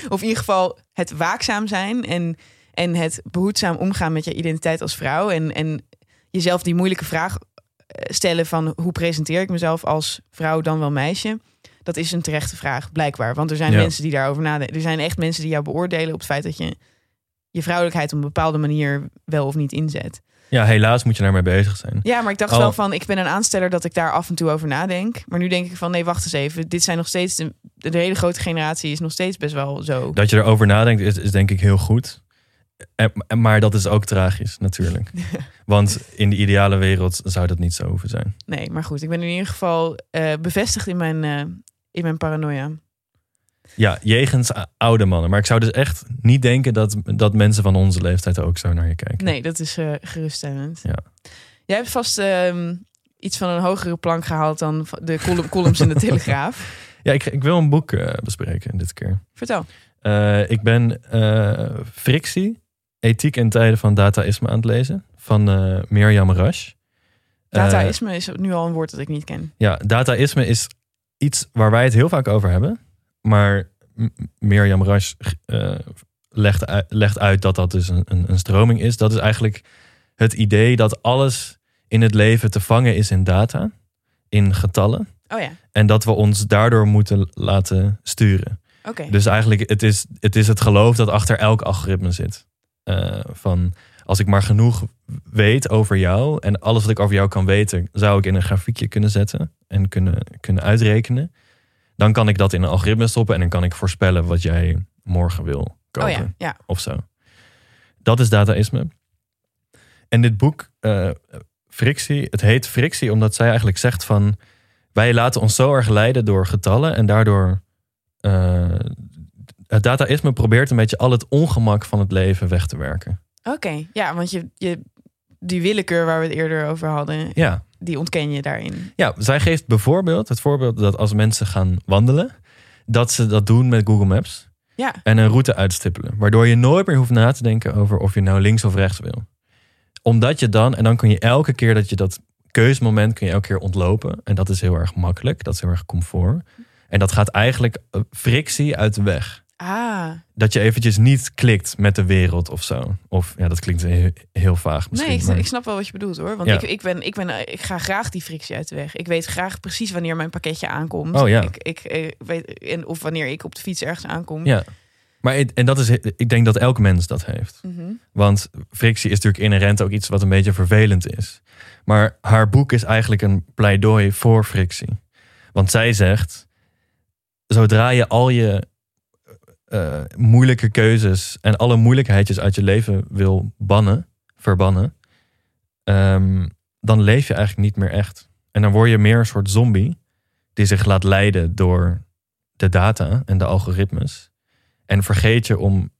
B: Of in ieder geval het waakzaam zijn en, en het behoedzaam omgaan met je identiteit als vrouw. En, en jezelf die moeilijke vraag eh, stellen van hoe presenteer ik mezelf als vrouw dan wel meisje. Dat is een terechte vraag, blijkbaar. Want er zijn
A: Ja.
B: mensen die daarover nadenken. Er zijn echt mensen die jou beoordelen op het feit dat je je vrouwelijkheid op een bepaalde manier wel of niet inzet.
A: [LAUGHS] ja, helaas moet je daarmee bezig zijn.
B: Ja, maar ik dacht
A: Oh.
B: wel van, ik ben een aansteller dat ik daar af en toe over nadenk. Maar nu denk ik van, nee, wacht eens even. Dit zijn nog steeds, de, de hele grote generatie is nog steeds best wel zo.
A: Dat je erover nadenkt is, is denk ik heel goed. En- en- maar dat is ook tragisch natuurlijk.
B: [LAUGHS]
A: Want in de ideale wereld zou dat niet zo hoeven zijn.
B: Nee, maar goed, ik ben in ieder geval eh, bevestigd in mijn, eh, in mijn paranoia.
A: Ja, jegens a- oude mannen. Maar ik zou dus echt niet denken dat, dat mensen van onze leeftijd ook zo naar je kijken.
B: Nee, dat is eh, geruststellend.
A: Ja.
B: Jij hebt vast ehm, iets van een hogere plank gehaald dan va- de colum- columns
A: [LAUGHS]
B: in de Telegraaf.
A: Ja, ik, ik wil een boek eh, bespreken dit keer.
B: Vertel.
A: Eh, ik ben eh, Frictie, Ethiek en Tijden van Dataïsme aan het lezen. Van eh, Mirjam Rasch. Eh,
B: Dataïsme is nu al een woord dat ik niet ken.
A: Ja, dataïsme is iets waar wij het heel vaak over hebben. Maar M- Mirjam Rasch eh, legt, uit, legt uit dat dat dus een, een, een stroming is. Dat is eigenlijk het idee dat alles in het leven te vangen is in data, in getallen.
B: Oh ja,
A: En dat we ons daardoor moeten laten sturen.
B: oké.
A: Dus eigenlijk, het is het, is het geloof dat achter elk algoritme zit. Eh, van, als ik maar genoeg weet over jou... en alles wat ik over jou kan weten... zou ik in een grafiekje kunnen zetten en kunnen, kunnen uitrekenen. Dan kan ik dat in een algoritme stoppen... en dan kan ik voorspellen wat jij morgen wil
B: oh
A: kopen
B: ja, ja.
A: of zo. Dat is dataïsme. En dit boek, eh, Frictie, het heet Frictie omdat zij eigenlijk zegt van... wij laten ons zo erg leiden door getallen en daardoor... eh, het dataïsme probeert een beetje al het ongemak van het leven weg te werken.
B: Oké, ja, want je, je, die willekeur waar we het eerder over hadden,
A: Ja,
B: die ontken je daarin.
A: ja zij geeft bijvoorbeeld het voorbeeld dat als mensen gaan wandelen... dat ze dat doen met Google Maps
B: Ja,
A: en een route uitstippelen. Waardoor je nooit meer hoeft na te denken over of je nou links of rechts wil. Omdat je dan, en dan kun je elke keer dat je dat keusmoment kun je elke keer ontlopen. En dat is heel erg makkelijk, dat is heel erg comfort. En dat gaat eigenlijk eh, frictie uit de weg.
B: ah,
A: Dat je eventjes niet klikt met de wereld of zo. Of ja, dat klinkt heel, heel vaag misschien.
B: nee, ik,
A: maar-
B: ik snap wel wat je bedoelt hoor. Want
A: Ja.
B: ik, ik, ben, ik, ben, eh, ik ga graag die frictie uit de weg. Ik weet graag precies wanneer mijn pakketje aankomt.
A: Oh ja.
B: ik, ik, eh, weet, en of wanneer ik op de fiets ergens aankom.
A: Ja. Maar het- en dat is, ik denk dat elk mens dat heeft.
B: Mhm.
A: Want frictie is natuurlijk inherent ook iets wat een beetje vervelend is. Maar haar boek is eigenlijk een pleidooi voor frictie. Want zij zegt, zodra je al je eh, moeilijke keuzes en alle moeilijkheidjes uit je leven wil bannen, verbannen, ehm, dan leef je eigenlijk niet meer echt. En dan word je meer een soort zombie die zich laat leiden door de data en de algoritmes. En vergeet je om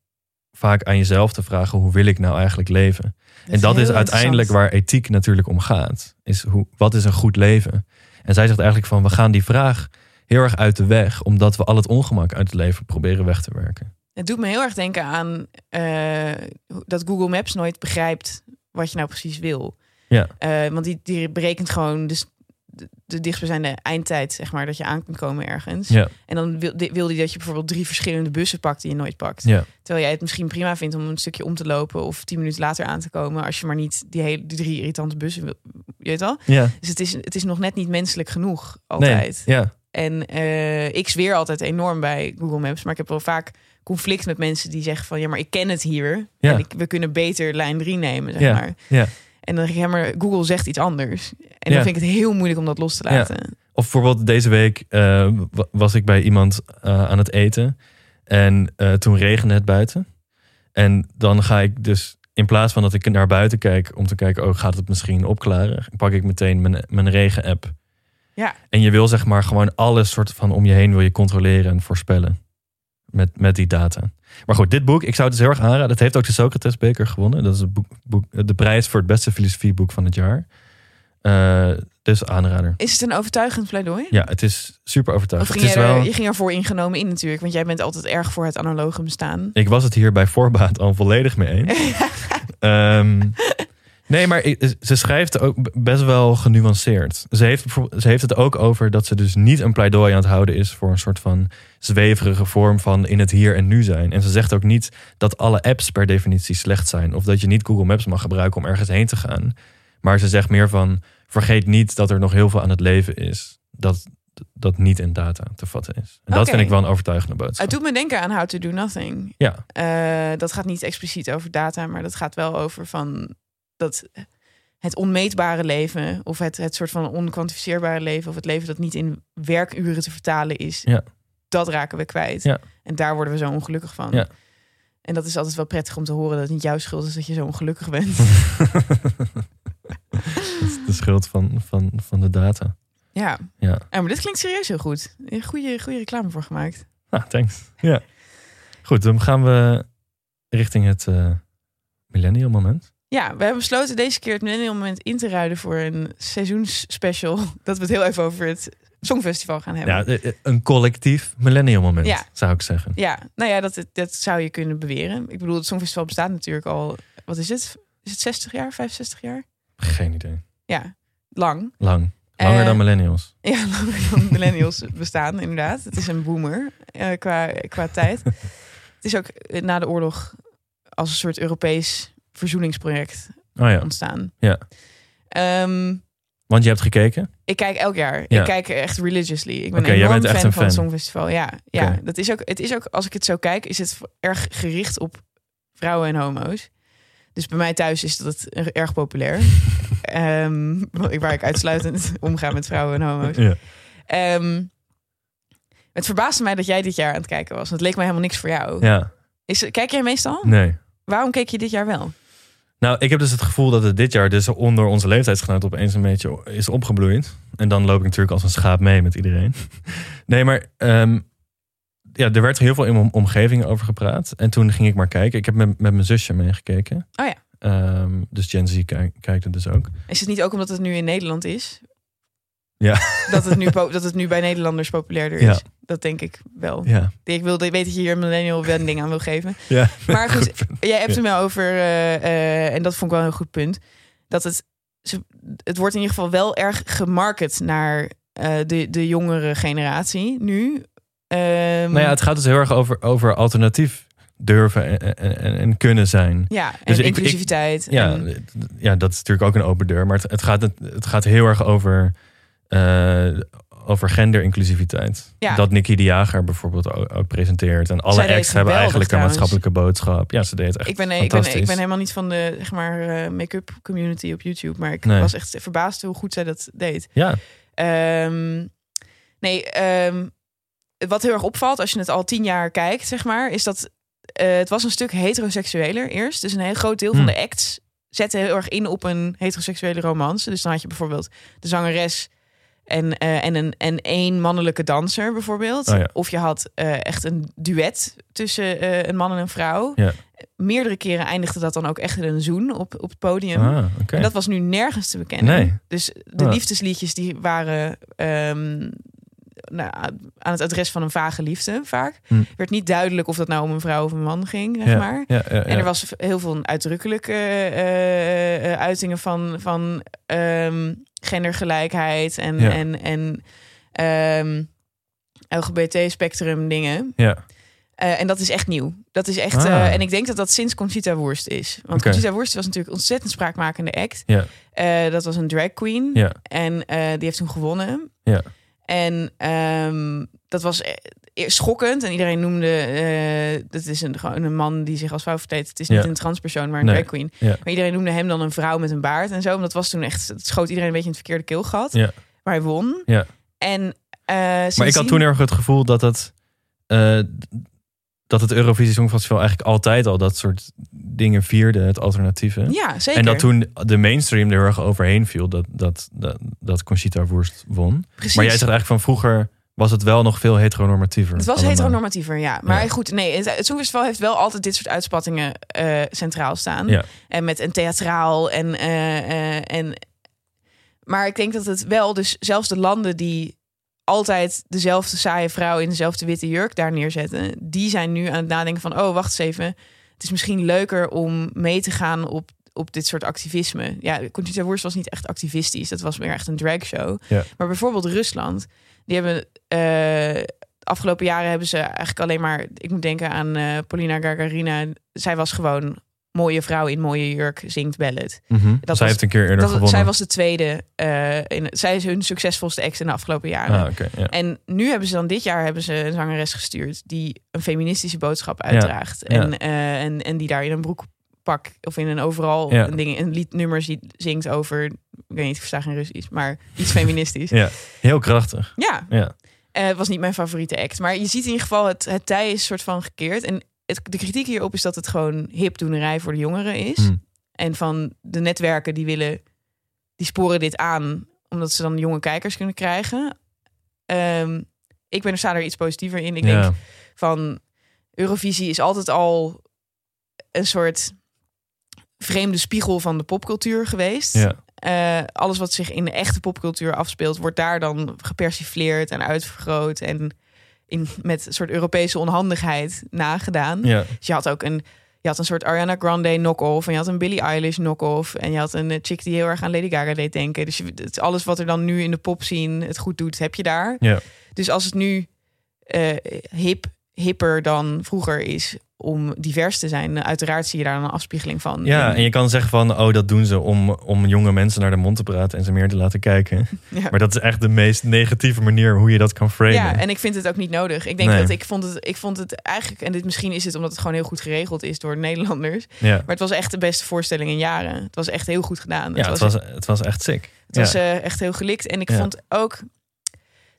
A: vaak aan jezelf te vragen: hoe wil ik nou eigenlijk leven? en dat is
B: heel
A: uiteindelijk waar
B: interessant.
A: ethiek natuurlijk om gaat. Is hoe, wat is een goed leven? En zij zegt eigenlijk van we gaan die vraag heel erg uit de weg, omdat we al het ongemak uit het leven proberen weg te werken.
B: Het doet me heel erg denken aan eh, dat Google Maps nooit begrijpt wat je nou precies wil.
A: Ja.
B: Eh, want die, die berekent gewoon dus de, de dichtstbijzijnde eindtijd, zeg maar, dat je aan kunt komen ergens.
A: Ja.
B: En dan wil, di- wil die dat je bijvoorbeeld drie verschillende bussen pakt die je nooit pakt.
A: Ja.
B: Terwijl jij het misschien prima vindt om een stukje om te lopen of tien minuten later aan te komen. Als je maar niet die, hele, die drie irritante bussen wil. Je weet wel?
A: Ja.
B: Dus het is, het is nog net niet menselijk genoeg altijd.
A: Nee, ja.
B: En eh, ik zweer altijd enorm bij Google Maps. Maar ik heb wel vaak conflict met mensen die zeggen van... ja, maar ik ken het hier.
A: Ja.
B: En ik, we kunnen beter lijn 3 nemen, zeg
A: Ja,
B: maar.
A: ja.
B: En dan denk ik, ja, maar Google zegt iets anders. En
A: Ja.
B: dan vind ik het heel moeilijk om dat los te
A: Ja.
B: laten.
A: Of bijvoorbeeld deze week eh, wa- was ik bij iemand eh, aan het eten. En eh, toen regende het buiten. En dan ga ik dus, in plaats van dat ik naar buiten kijk om te kijken, oh, gaat het misschien opklaren? Pak ik meteen mijn, mijn regen-app.
B: Ja.
A: En je wil zeg maar gewoon alles soort van om je heen wil je controleren en voorspellen. Met, met die data. Maar goed, dit boek, ik zou het dus heel erg aanraden. Het heeft ook de Socrates beker gewonnen. Dat is het boek, boek- de prijs voor het beste filosofieboek van het jaar. Eh, dus aanrader.
B: Is het een overtuigend pleidooi?
A: Ja, het is super
B: Of
A: overtuigend.
B: ging
A: Het is
B: jij er-
A: wel,
B: je ging ervoor ingenomen in natuurlijk. Want jij bent altijd erg voor het analoge bestaan.
A: Ehm, ik was het hier bij voorbaat al volledig mee eens. Ehm, nee, maar ik- ze schrijft ook b- best wel genuanceerd. Ze heeft, bijvoorbeeld- ze heeft het ook over dat ze dus niet een pleidooi aan het houden is voor een soort van zweverige vorm van in het hier en nu zijn. En ze zegt ook niet dat alle apps per definitie slecht zijn of dat je niet Google Maps mag gebruiken om ergens heen te gaan. Maar ze zegt meer van vergeet niet dat er nog heel veel aan het leven is dat, dat niet in data te vatten is. En dat
B: Oké.
A: vind ik wel een overtuigende boodschap.
B: Het doet me denken aan How to Do Nothing.
A: Ja.
B: Eh, dat gaat niet expliciet over data, maar dat gaat wel over van dat het onmeetbare leven of het, het soort van onkwantificeerbare leven of het leven dat niet in werkuren te vertalen is,
A: Ja.
B: dat raken we kwijt.
A: Ja.
B: En daar worden we zo ongelukkig van.
A: Ja.
B: En dat is altijd wel prettig om te horen dat het niet jouw schuld is dat je zo ongelukkig
A: [LAUGHS]
B: bent.
A: Dat is de schuld van, van, van de data.
B: ja. Ah,
A: Ja.
B: Eh, maar dit klinkt serieus heel goed. Goede, goede reclame voor gemaakt.
A: Nou, thanks. Ja. Goed, dan gaan we richting het eh millennial moment.
B: Ja, we hebben besloten deze keer het millennial moment in te ruiden voor een seizoensspecial. [LAUGHS] Dat we het heel even over het Songfestival gaan hebben.
A: Ja, eh, eh, een collectief millennial moment,
B: Ja.
A: zou ik zeggen.
B: Ja, nou ja, dat, dat zou je kunnen beweren. Ik bedoel, het Songfestival bestaat natuurlijk al, wat is het? Is het 60 jaar, 65 jaar?
A: Geen idee.
B: Ja, lang.
A: Lang. Langer
B: Eh,
A: dan millennials.
B: [LAUGHS] Ja, langer dan millennials bestaan, inderdaad. Het is een boomer eh, qua, qua
A: [LAUGHS]
B: tijd. Het is ook eh, na de oorlog als een soort Europees verzoeningsproject
A: Oh ja,
B: ontstaan.
A: Ja.
B: Ehm,
A: want je hebt
B: [LAUGHS]
A: gekeken.
B: ik kijk elk jaar.
A: Ja.
B: Ik kijk echt religiously. Ik ben
A: Oké, jij
B: een enorm
A: bent echt
B: fan
A: een
B: van het
A: fan.
B: Songfestival. Ja, ja.
A: Oké.
B: Dat is ook, het is ook, als ik het zo kijk, is het erg gericht op vrouwen en homo's. Dus bij mij thuis is dat erg
A: [LAUGHS]
B: populair. Ehm, waar ik uitsluitend omga met vrouwen en homo's.
A: Ja.
B: Ehm, het verbaasde mij dat jij dit jaar aan het kijken was. want Het leek mij helemaal niks voor jou.
A: ja,
B: Is, kijk jij meestal?
A: nee.
B: Waarom keek je dit jaar wel?
A: Nou, ik heb dus het gevoel dat het dit jaar dus onder onze leeftijdsgenoten opeens een beetje is opgebloeid. En dan loop ik natuurlijk als een schaap mee met iedereen. [LAUGHS] Nee, maar ehm, ja, er werd heel veel in mijn omgeving over gepraat. En toen ging ik maar kijken. Ik heb met, met mijn zusje meegekeken.
B: Oh ja.
A: Ehm, dus Gen Z kijk- kijkt het dus ook.
B: Is het niet ook omdat het nu in Nederland is?
A: Ja.
B: Dat het
A: [LAUGHS]
B: nu, po- dat het nu bij Nederlanders populairder is.
A: Ja.
B: Dat denk ik wel.
A: Ja.
B: Ik wil, ik weet dat je hier een millennial wending aan wil geven.
A: ja. [LAUGHS]
B: Maar goed, Jij hebt
A: Ja.
B: het wel over, eh, eh, en dat vond ik wel een goed punt, dat het, ze- het wordt in ieder geval wel erg gemarket naar eh, de, de jongere generatie nu. Ehm,
A: Nou ja, het gaat dus heel erg over, over alternatief durven en, en- en, en kunnen zijn.
B: ja, en
A: dus ik- ik-
B: inclusiviteit.
A: Ja,
B: en-
A: ja, dat is natuurlijk ook een open deur. Maar het, het, gaat, het, gaat heel erg over, eh, over genderinclusiviteit.
B: Ja.
A: Dat Nicky de Jager bijvoorbeeld ook, ook presenteert. En alle
B: Zij deed
A: acts hebben
B: geweldig
A: eigenlijk een
B: trouwens.
A: maatschappelijke boodschap. Ja, ze deed het echt.
B: ik ben, ik, ben, ik
A: fantastisch.
B: ben helemaal niet van de zeg maar, eh, make-up community op YouTube. Maar ik
A: Nee.
B: was echt verbaasd hoe goed zij dat deed.
A: Ja,
B: Ehm, nee, ehm, wat heel erg opvalt als je het al tien jaar kijkt, zeg maar, is dat eh, het was een stuk heteroseksueler eerst. Dus een heel groot deel van
A: Hmm.
B: de acts zette heel erg in op een heteroseksuele romance. Dus dan had je bijvoorbeeld de zangeres en, eh, en, een, en één mannelijke danser bijvoorbeeld.
A: Oh ja.
B: Of je had eh, echt een duet tussen eh, een man en een vrouw.
A: Ja.
B: Meerdere keren eindigde dat dan ook echt in een zoen op, op het podium.
A: ah, oké.
B: En dat was nu nergens te bekennen.
A: Nee. Ah.
B: Dus de
A: Ja.
B: liefdesliedjes die waren ehm, nou, aan het adres van een vage liefde vaak.
A: Hm.
B: Werd niet duidelijk of dat nou om een vrouw of een man ging, zeg
A: ja.
B: maar.
A: Ja, ja, ja.
B: En er was heel veel uitdrukkelijke eh, eh, uitingen van, van ehm, gendergelijkheid en,
A: Ja.
B: en, en ehm, LGBT-spectrum dingen.
A: Ja.
B: Eh, en dat is echt nieuw. Dat is echt.
A: Ah.
B: eh, en ik denk dat dat sinds Conchita Wurst is. Want
A: Oké.
B: Conchita Wurst was natuurlijk een ontzettend spraakmakende act.
A: Ja.
B: Eh, dat was een drag queen.
A: Ja.
B: En eh, die heeft toen gewonnen.
A: Ja.
B: En ehm, dat was eh, eerst schokkend. En iedereen noemde. eh, dat is een, gewoon een man die zich als vrouw verkleedt. Het is niet
A: Ja.
B: een transpersoon, maar een
A: Nee.
B: drag queen.
A: Ja.
B: Maar iedereen noemde hem dan een vrouw met een baard en zo. En dat was toen echt. Het schoot iedereen een beetje in het verkeerde keelgat.
A: Ja.
B: Maar hij won.
A: Ja.
B: En. eh,
A: Maar ik had
B: sindsdien-
A: toen heel erg het gevoel dat het, eh, dat het Eurovisie Songfestival eigenlijk altijd al dat soort dingen vierde, het alternatieve.
B: Ja, zeker.
A: En dat toen de mainstream er heel erg overheen viel, dat, dat, dat, dat Conchita Wurst won.
B: Precies.
A: Maar jij zegt eigenlijk van vroeger was het wel nog veel heteronormatiever.
B: Het was
A: allemaal.
B: heteronormatiever, ja. Maar
A: Ja.
B: goed, nee, het, het Songfestival heeft wel altijd dit soort uitspattingen eh, centraal staan.
A: Ja.
B: En met een theatraal en, eh, eh, en... Maar ik denk dat het wel, dus zelfs de landen die altijd dezelfde saaie vrouw in dezelfde witte jurk daar neerzetten, die zijn nu aan het nadenken van, oh, wacht eens even. Het is misschien leuker om mee te gaan op, op dit soort activisme. Ja, Conchita Wurst was niet echt activistisch. Dat was meer echt een dragshow.
A: Ja.
B: Maar bijvoorbeeld Rusland, die hebben... eh, de afgelopen jaren hebben ze eigenlijk alleen maar. Ik moet denken aan eh, Polina Gagarina. Zij was gewoon mooie vrouw in mooie jurk, zingt ballet.
A: Mhm. zij
B: was-
A: heeft een keer eerder
B: Dat,
A: gewonnen.
B: zij was de tweede. eh, in, zij is hun succesvolste ex in de afgelopen jaren.
A: ah, oké, ja.
B: En nu hebben ze dan dit jaar hebben ze een zangeres gestuurd die een feministische boodschap uitdraagt. En, eh, en, en die daar in een broekpak of in een overal
A: Ja.
B: een, ding, een liednummer zie- zingt over. Ik weet niet of ze daar geen Russisch, maar iets feministisch.
A: Ja. Heel krachtig.
B: ja,
A: Ja.
B: eh, het was niet mijn favoriete act. Maar je ziet in ieder geval, het, het tij is soort van gekeerd. En het, de kritiek hierop is dat het gewoon hipdoenerij voor de jongeren is.
A: Hm.
B: En van de netwerken die willen, die sporen dit aan. Omdat ze dan jonge kijkers kunnen krijgen. Ehm, ik ben er sta er iets positiever in. Ik
A: ja.
B: denk van Eurovisie is altijd al een soort vreemde spiegel van de popcultuur geweest.
A: ja.
B: Eh, alles wat zich in de echte popcultuur afspeelt, wordt daar dan gepersifleerd en uitvergroot en in, met een soort Europese onhandigheid nagedaan.
A: ja.
B: Dus je had ook een, je had een soort Ariana Grande knock-off. En je had een Billie Eilish knock-off. En je had een eh, chick die heel erg aan Lady Gaga deed denken. Dus je, het, is alles wat er dan nu in de pop scene het goed doet, heb je daar.
A: Ja.
B: Dus als het nu eh, hip, hipper dan vroeger is om divers te zijn, eh, uiteraard zie je daar een afspiegeling van.
A: Ja, en je kan zeggen van, oh, dat doen ze om, om jonge mensen naar de mond te praten en ze meer te laten kijken.
B: [LAUGHS] Ja.
A: Maar dat is echt de meest negatieve manier hoe je dat kan framen.
B: Ja, en ik vind het ook niet nodig. Ik denk
A: Nee.
B: dat ik vond het, ik vond het eigenlijk, en dit misschien is het omdat het gewoon heel goed geregeld is door Nederlanders.
A: ja.
B: Maar het was echt de beste voorstelling in jaren. Het was echt heel goed gedaan.
A: ja het, was, het was echt sick.
B: Het
A: Ja.
B: was eh, echt heel gelikt. En ik
A: Ja.
B: vond ook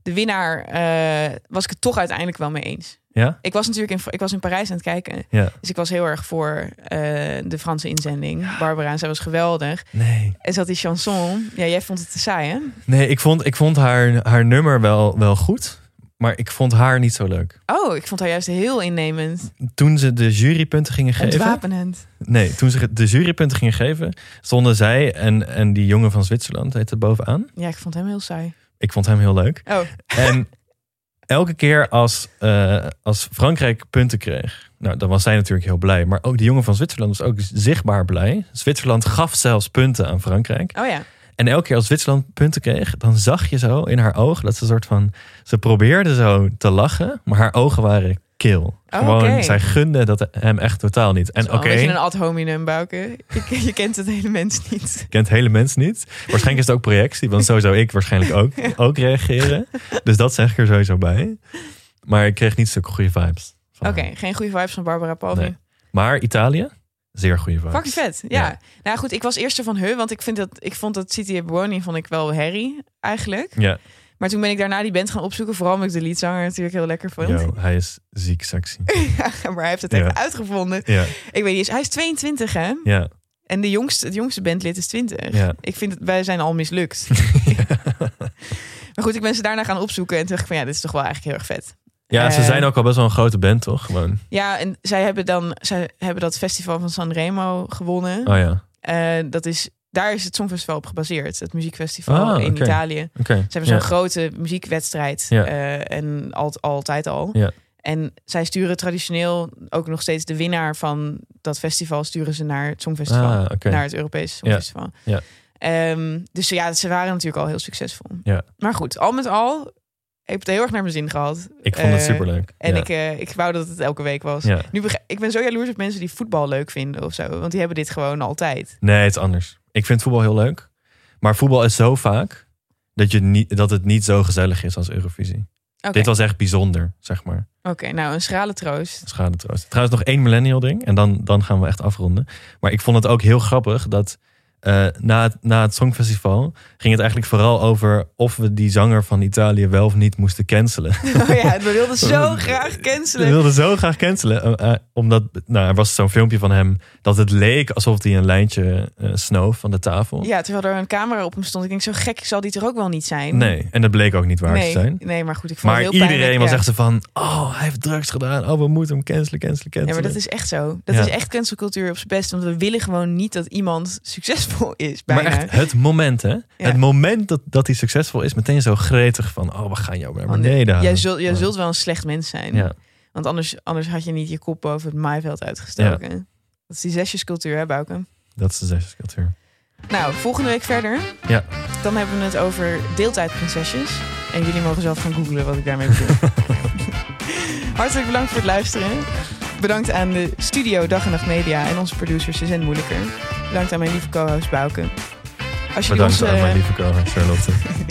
B: de winnaar eh, was ik het toch uiteindelijk wel mee eens.
A: ja?
B: Ik was natuurlijk in, Fra- ik was in Parijs aan het kijken.
A: Ja.
B: Dus ik was heel erg voor eh, de Franse inzending. Barbara, en zij was geweldig.
A: Nee.
B: En ze had die chanson. Ja, jij vond het te saai, hè?
A: Nee, ik vond, ik vond haar, haar nummer wel, wel goed. Maar ik vond haar niet zo leuk.
B: Oh, ik vond haar juist heel innemend.
A: Toen ze de jurypunten gingen geven.
B: Ontwapenend.
A: Nee, toen ze de jurypunten gingen geven, stonden zij en, en die jongen van Zwitserland heette bovenaan.
B: Ja, ik vond hem heel saai.
A: Ik vond hem heel leuk.
B: Oh, [LAUGHS]
A: En elke keer als, eh, als Frankrijk punten kreeg, nou, dan was zij natuurlijk heel blij. Maar ook die jongen van Zwitserland was ook zichtbaar blij. Zwitserland gaf zelfs punten aan Frankrijk.
B: oh ja.
A: En elke keer als Zwitserland punten kreeg, dan zag je zo in haar oog dat ze een soort van. Ze probeerde zo te lachen, maar haar ogen waren kil.
B: Oh,
A: Gewoon,
B: oké.
A: zij gunde dat hem echt totaal niet. En
B: En
A: oké,
B: Een beetje een ad hominem, Bouke. [LAUGHS] Je, je kent het hele mens niet.
A: kent hele mensen niet. Waarschijnlijk is het ook projectie, want zo zou ik waarschijnlijk ook, ook reageren. Dus dat zeg ik er sowieso bij. Maar ik kreeg niet zulke goede vibes. van
B: Oké,
A: haar.
B: geen goede vibes van Barbara Palvi.
A: Nee. Maar Italië, zeer goede vibes.
B: Fucking vet, ja.
A: Ja.
B: Nou ja, goed, ik was eerst er van he, want ik, vind dat, ik vond dat City Ebony vond ik wel herrie eigenlijk.
A: Ja,
B: Maar toen ben ik daarna die band gaan opzoeken, vooral omdat ik de liedzanger natuurlijk heel lekker vond.
A: yo, hij is ziek sexy.
B: [LAUGHS] maar hij heeft het
A: Ja.
B: even uitgevonden.
A: Ja,
B: Ik weet niet eens, hij is 22 hè?
A: ja.
B: En de jongste, het jongste bandlid is 20.
A: Ja.
B: Ik vind, het, wij zijn al
A: [LAUGHS]
B: mislukt. maar goed, ik ben ze daarna gaan opzoeken en toen dacht ik van ja, dit is toch wel eigenlijk heel erg vet.
A: ja ze
B: Eh.
A: zijn ook al best wel een grote band, toch? Gewoon.
B: Ja, en zij hebben dan, zij hebben dat festival van Sanremo gewonnen.
A: Oh ja, oké.
B: Eh, dat is, daar is het Songfestival op gebaseerd. Het muziekfestival
A: Ah,
B: in
A: oké.
B: Italië. Ze hebben
A: Ja.
B: zo'n grote muziekwedstrijd.
A: Ja.
B: eh, en al, altijd al.
A: Ja.
B: En zij sturen traditioneel ook nog steeds de winnaar van dat festival... sturen ze naar het Songfestival.
A: Ah, oké.
B: Naar het Europese Songfestival.
A: Ja.
B: Ehm, dus ja, ze waren natuurlijk al heel succesvol.
A: Ja.
B: Maar goed, al met al... Ik heb het heel erg naar mijn zin gehad.
A: Ik vond het
B: Eh,
A: superleuk.
B: En
A: ja.
B: ik, eh, ik wou dat het elke week was.
A: Ja.
B: Nu begrijp, ik ben zo jaloers op mensen die voetbal leuk vinden of zo. Want die hebben dit gewoon altijd.
A: Nee, het is anders. Ik vind voetbal heel leuk. Maar voetbal is zo vaak dat, je niet, dat het niet zo gezellig is als Eurovisie.
B: Oké.
A: Dit was echt bijzonder, zeg maar.
B: Oké, nou een schrale troost.
A: Schade troost. Trouwens, nog één millennial ding. En dan, dan gaan we echt afronden. Maar ik vond het ook heel grappig dat eh, na, het, na het Songfestival ging het eigenlijk vooral over of we die zanger van Italië wel of niet moesten cancelen.
B: [LAUGHS]
A: [LAUGHS]
B: Oh ja, we wilden zo graag cancelen.
A: We wilden zo graag cancelen. eh, eh, omdat nou, er was zo'n filmpje van hem dat het leek alsof hij een lijntje eh, snoof van de tafel.
B: Ja, terwijl er een camera op hem stond. Ik denk, zo gek zal die er ook wel niet zijn.
A: Nee, en dat bleek ook niet waar
B: nee,
A: te zijn.
B: nee maar goed, ik vond
A: Maar
B: het heel
A: iedereen
B: pijnlijk,
A: was
B: ja.
A: echt zo van, oh, hij heeft drugs gedaan. Oh, we moeten hem cancelen, cancelen, cancelen.
B: Ja, maar dat is echt zo. Dat
A: Ja.
B: is echt cancelcultuur op zijn best. Want we willen gewoon niet dat iemand succesvol is,
A: Maar
B: bijna.
A: echt het moment, hè? Het moment dat, dat hij succesvol is, meteen zo gretig van... oh, we gaan jou naar
B: Want
A: beneden halen.
B: jij, zult, jij
A: Ja.
B: zult wel een slecht mens zijn.
A: Ja,
B: Want anders, anders had je niet je kop boven het maaiveld uitgestoken. Dat is die zesjescultuur, hè, Bouke?
A: dat is de zesjescultuur.
B: Nou, volgende week verder.
A: Ja.
B: Dan hebben we het over deeltijdprinsesjes. En jullie mogen zelf gaan googlen wat ik daarmee bedoel.
A: [LAUGHS]
B: Hartelijk bedankt voor het luisteren. Bedankt aan de studio Dag en Nacht Media en onze producers Suzanne Moeilijker. Bedankt aan mijn lieve co-host Bouke. Als jullie
A: Bedankt
B: ons,
A: aan
B: eh,
A: mijn lieve co
B: [LAUGHS]
A: Charlotte.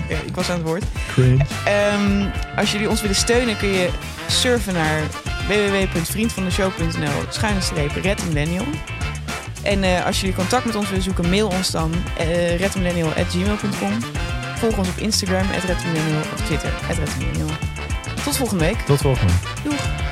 B: ja, ik was aan het woord.
A: Cringe.
B: Ehm, als jullie ons willen steunen kun je surfen naar www.vriendvandeshow.nl schuine streep Red en Daniel. En eh, als jullie contact met ons willen zoeken, mail ons dan uh, redmillennial.gmail.com. Volg ons op Instagram, redmillennial, op Twitter, redmillennial. Tot volgende week.
A: Tot volgende.
B: Doeg!